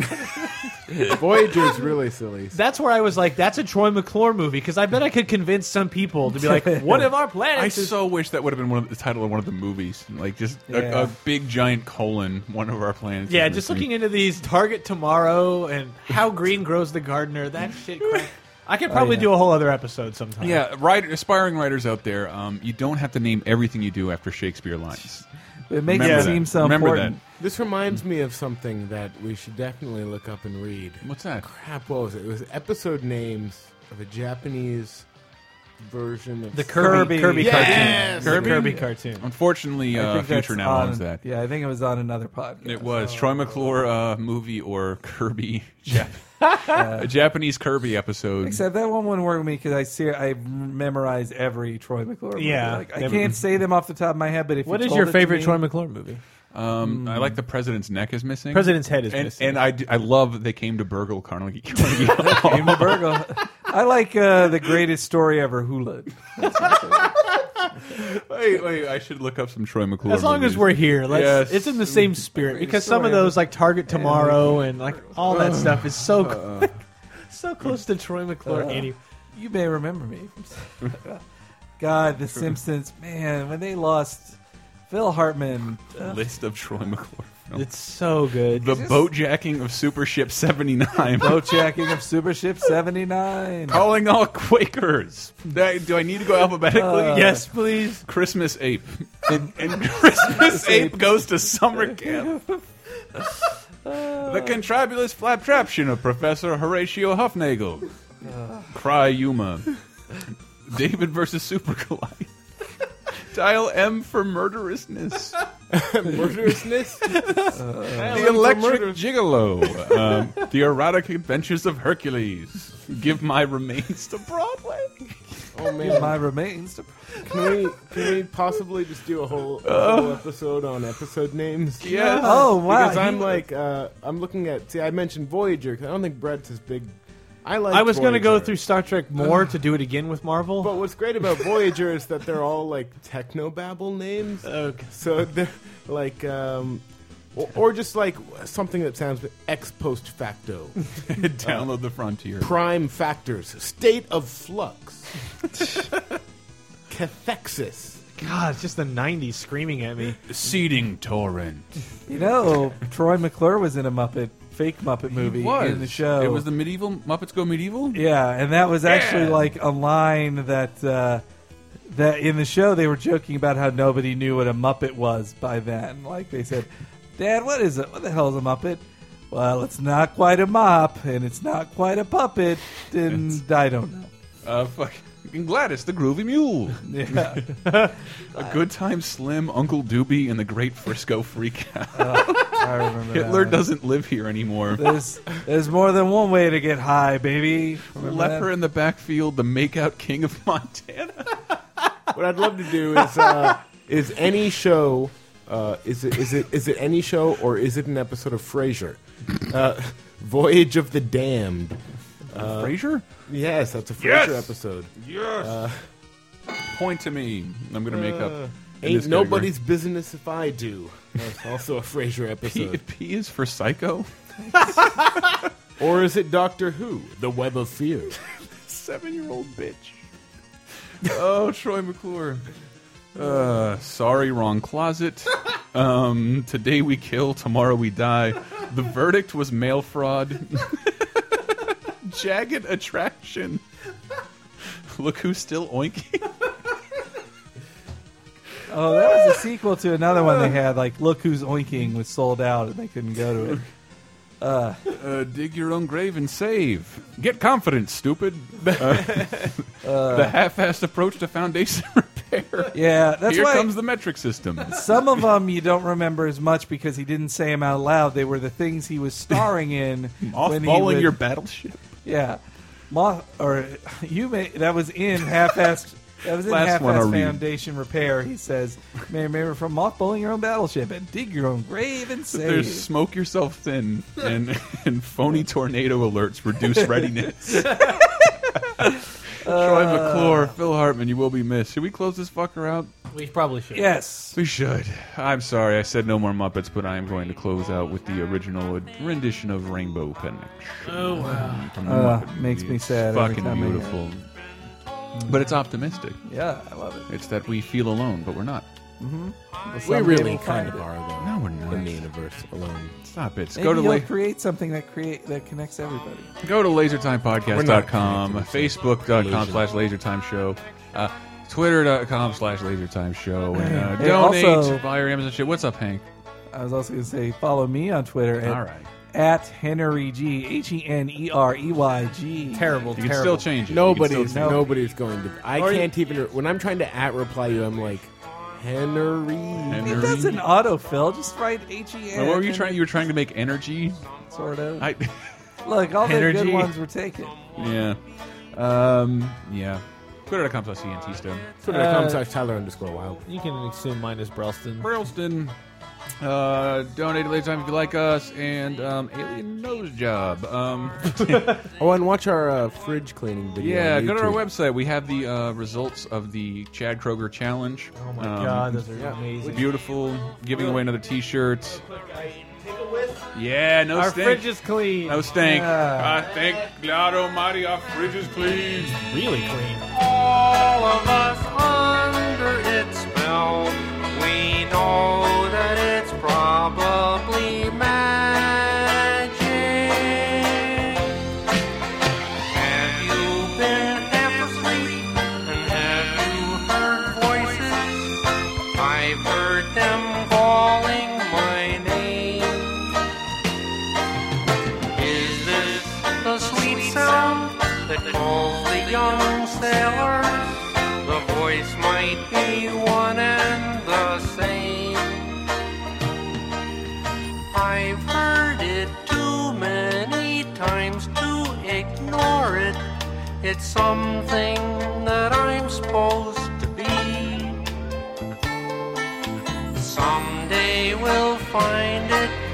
Speaker 6: Voyager's really silly.
Speaker 4: that's where I was like, that's a Troy McClure movie because I bet I could convince some people to be like, one of our
Speaker 3: I
Speaker 4: planets. is...
Speaker 3: so wish that would have been one of the title of one of the movies, like just
Speaker 5: Yeah.
Speaker 3: a, a big giant colon, one of our planets.
Speaker 4: Yeah, just looking into these Target Tomorrow and How Green Grows the Gardener. That shit. Crap. I could probably
Speaker 5: yeah.
Speaker 4: do a whole other episode sometime.
Speaker 3: Oh, Yeah, writer, aspiring writers out there, um, you don't have to name everything you do after Shakespeare lines.
Speaker 5: It makes
Speaker 3: Remember
Speaker 5: it
Speaker 3: that.
Speaker 5: seem so
Speaker 3: Remember
Speaker 5: important.
Speaker 6: This reminds me of something that we should definitely look up and read.
Speaker 3: that. What's that?
Speaker 6: Crap, what was it? It was episode names of a Japanese version of
Speaker 4: The Kirby
Speaker 5: Kirby.
Speaker 4: Kirby,
Speaker 6: Yes!
Speaker 4: cartoon.
Speaker 3: Kirby?
Speaker 4: The Kirby cartoon.
Speaker 3: Unfortunately,
Speaker 5: I
Speaker 3: uh,
Speaker 5: think that's
Speaker 3: Future now
Speaker 5: on-
Speaker 3: owns that.
Speaker 5: Yeah, I think it was on another podcast.
Speaker 3: It was
Speaker 4: Oh.
Speaker 3: Troy McClure uh, movie or Kirby Jap- a Japanese Kirby episode.
Speaker 5: Except that one wouldn't work with me because I see I memorize every Troy McClure. movie.
Speaker 4: Yeah.
Speaker 5: like, I
Speaker 4: Them-
Speaker 5: can't say them off the top of my head. But if
Speaker 4: What
Speaker 5: you
Speaker 4: is
Speaker 5: told
Speaker 4: your
Speaker 5: it to
Speaker 4: favorite
Speaker 5: me-
Speaker 4: Troy McClure movie?
Speaker 3: Um, I like the president's neck is missing.
Speaker 4: mm. President's head is
Speaker 3: and,
Speaker 4: missing.
Speaker 3: and I, d- I love that they came to burgle Carnegie. Carnegie Hall.
Speaker 5: Amy Burgle. I like uh, the greatest story ever, Hula.
Speaker 3: wait, wait, I should look up some Troy McClure.
Speaker 4: As long as
Speaker 3: movies.
Speaker 4: we're here, let's,
Speaker 3: Yes.
Speaker 4: it's in the same spirit because some of
Speaker 5: story ever.
Speaker 4: those like Target Tomorrow and like all
Speaker 3: Uh,
Speaker 4: that stuff is so so close to Troy McClure.
Speaker 5: Uh.
Speaker 4: Andy.
Speaker 5: You may remember me. from- God, The Simpsons. Man, when they lost Phil Hartman, uh,
Speaker 3: list of Troy McClure. films.
Speaker 4: It's so good.
Speaker 3: The boatjacking of Super Ship 79.
Speaker 5: boatjacking of Super Ship seventy nine.
Speaker 3: Calling all Quakers. Uh, That- Do I need to go alphabetically?
Speaker 4: yes, please.
Speaker 3: Christmas Ape. And, and Christmas Ape goes to summer camp. the Contrabulous Flaptraption of Professor Horatio Hufnagel. Cry Yuma. David versus Super Goliath. Dial M for murderousness.
Speaker 6: murderousness.
Speaker 3: the Electric Gigolo. Um, the Erotic Adventures of Hercules. Give My Remains to Broadway.
Speaker 6: oh man,
Speaker 5: My remains. to-
Speaker 6: can we can we possibly just do a whole, a whole episode on episode names?
Speaker 3: Yes.
Speaker 5: Oh wow!
Speaker 6: because I'm
Speaker 5: He-
Speaker 6: like uh, I'm looking at. See, I mentioned Voyager because I don't think Brett's as big. I like.
Speaker 4: I was going to go
Speaker 6: Voyager.
Speaker 4: through Star Trek more to do it again with Marvel.
Speaker 6: But what's great about Voyager is that they're all like technobabble names.
Speaker 4: Okay.
Speaker 6: So they're like, um, or, or just like something that sounds ex post facto,
Speaker 3: Download the Frontier.
Speaker 6: prime factors, state of flux, cathexis.
Speaker 4: God, it's just the '90s screaming at me.
Speaker 3: Seeding Torrent.
Speaker 5: You know, Troy McClure was in a Muppet fake Muppet movie
Speaker 3: was.
Speaker 5: in the show.
Speaker 3: It was the medieval Muppets Go Medieval.
Speaker 5: yeah, and that was actually like a line that uh, that in the show they were joking about how nobody knew what a Muppet was by then. Like they said, "Dad, what is it? What the hell is a Muppet?" Well, it's not quite a mop, and it's not quite a puppet, and I don't know.
Speaker 3: Uh, fucking Gladys, the Groovy Mule,
Speaker 5: Yeah.
Speaker 3: a good time Slim, Uncle Doobie, and the Great Frisco Freakout.
Speaker 5: I remember that
Speaker 3: Hitler
Speaker 5: one.
Speaker 3: doesn't live here anymore.
Speaker 5: There's there's more than one way to get high, baby. Remember
Speaker 3: Leper
Speaker 5: that?
Speaker 3: in the backfield, the makeout king of Montana.
Speaker 6: What I'd love to do is uh, is any show. Uh, is it is it is it any show or is it an episode of Frasier? Uh, Voyage of the Damned.
Speaker 3: Uh, Frasier,
Speaker 6: Yes, that's a Frasier
Speaker 1: Yes!
Speaker 6: episode.
Speaker 3: point to me. I'm gonna make
Speaker 5: Uh,
Speaker 3: up. in this
Speaker 6: Ain't
Speaker 3: category.
Speaker 6: nobody's business if I do. That's also a Frasier
Speaker 3: P,
Speaker 6: episode.
Speaker 3: P is for psycho.
Speaker 6: or is it Doctor Who? The Web of Fear.
Speaker 3: Seven year old bitch. oh, Troy McClure. Uh, sorry, wrong closet. Um, today we kill, tomorrow we die. The verdict was mail fraud. Jagged attraction. Look who's still oinking.
Speaker 5: Oh, that was a sequel to another one they had. Like, look who's oinking was sold out, and they couldn't go to it.
Speaker 3: Uh, dig your own grave and save. Get confidence, stupid. Uh, the half-assed approach to foundation repair.
Speaker 5: Yeah, that's
Speaker 3: Here
Speaker 5: why-
Speaker 3: comes the metric system.
Speaker 5: Some of them you don't remember as much because he didn't say them out loud. They were the things he was starring in. when he
Speaker 3: Mothballing
Speaker 5: would-
Speaker 3: your battleship.
Speaker 5: Yeah, moth or you may that was in half-assed. That was in
Speaker 3: Last one I'll
Speaker 5: half-assed
Speaker 3: read.
Speaker 5: foundation repair. He says, "May remember from mothballing your own battleship and dig your own grave and save."
Speaker 3: There's smoke yourself thin and and phony tornado alerts reduce readiness.
Speaker 5: Uh,
Speaker 3: Troy McClure, Phil Hartman, you will be missed. Should we close this fucker out?
Speaker 4: We probably should.
Speaker 5: Yes.
Speaker 3: We should. I'm sorry, I said no more Muppets, but I am going to close out with the original rendition of Rainbow Connection.
Speaker 4: Oh, wow.
Speaker 3: From the
Speaker 5: Uh,
Speaker 3: Muppet
Speaker 5: makes
Speaker 3: movie.
Speaker 5: me sad every
Speaker 3: Fucking
Speaker 5: time I hear it.
Speaker 3: beautiful. But it's optimistic.
Speaker 5: Yeah, I love it.
Speaker 3: It's that we feel alone, but we're not.
Speaker 5: Mhm. Well,
Speaker 6: we
Speaker 5: someday
Speaker 6: really
Speaker 5: we'll
Speaker 6: kind
Speaker 5: find
Speaker 6: of
Speaker 5: it.
Speaker 6: are, though.
Speaker 3: No, we're not.
Speaker 6: In the universe alone.
Speaker 3: Stop it.
Speaker 5: Maybe
Speaker 3: Go to
Speaker 5: you'll
Speaker 3: la-
Speaker 5: create something that create that connects everybody.
Speaker 3: go to
Speaker 6: We're not
Speaker 3: lasertimepodcast.com, facebook.com
Speaker 6: Laser.
Speaker 3: slash lasertime show, uh, twitter.com slash lasertime show, and uh,
Speaker 5: Hey,
Speaker 3: donate
Speaker 5: also-
Speaker 3: via Amazon shit. What's up, Hank?
Speaker 5: I was also going to say follow me on Twitter at,
Speaker 3: All right.
Speaker 5: at Henry G H E N E R E Y G.
Speaker 4: Terrible,
Speaker 3: You can
Speaker 4: terrible.
Speaker 3: still change it. You can still
Speaker 6: Nobody's
Speaker 3: change it.
Speaker 6: nobody's going to. I
Speaker 4: Or you-
Speaker 6: can't even. When I'm trying to at reply you, I'm like, Henry.
Speaker 5: I
Speaker 3: Henry.
Speaker 5: mean, that's an autofill. Just write H E N.
Speaker 3: What were you trying? You were trying to make energy.
Speaker 5: Sort of.
Speaker 3: I,
Speaker 5: Look, all the
Speaker 4: Energy.
Speaker 5: good ones were taken.
Speaker 3: yeah, um, yeah. Twitter.com slash entstone.
Speaker 8: Uh,
Speaker 6: Twitter.com slash Tyler underscore wild.
Speaker 4: You can assume mine is
Speaker 3: Um,
Speaker 4: Brelston.
Speaker 3: Burlston. Uh, donate at later time if you like us, and um, Alien Nose Job. Um,
Speaker 6: Oh, and watch our uh, fridge cleaning video.
Speaker 3: yeah,
Speaker 6: on
Speaker 3: go to our
Speaker 6: YouTube.
Speaker 3: website. We have the uh, results of the Chad Kroger challenge.
Speaker 4: Oh my
Speaker 3: Um,
Speaker 4: god, those are amazing.
Speaker 3: Beautiful, giving away another T-shirt. Yeah, no
Speaker 4: Our
Speaker 3: stink.
Speaker 4: fridge is clean.
Speaker 3: no stink.
Speaker 5: Yeah.
Speaker 3: I thank God Almighty, our fridge is clean.
Speaker 4: really clean.
Speaker 8: All of us under its spell. We know that it's probably magic. Have you been half asleep? And have you heard voices? I've heard them calling my name. Is this the sweet sound that calls the young sailor? The voice might be one and the same. I've heard it too many times to ignore it. It's something that I'm supposed to be. Someday we'll find it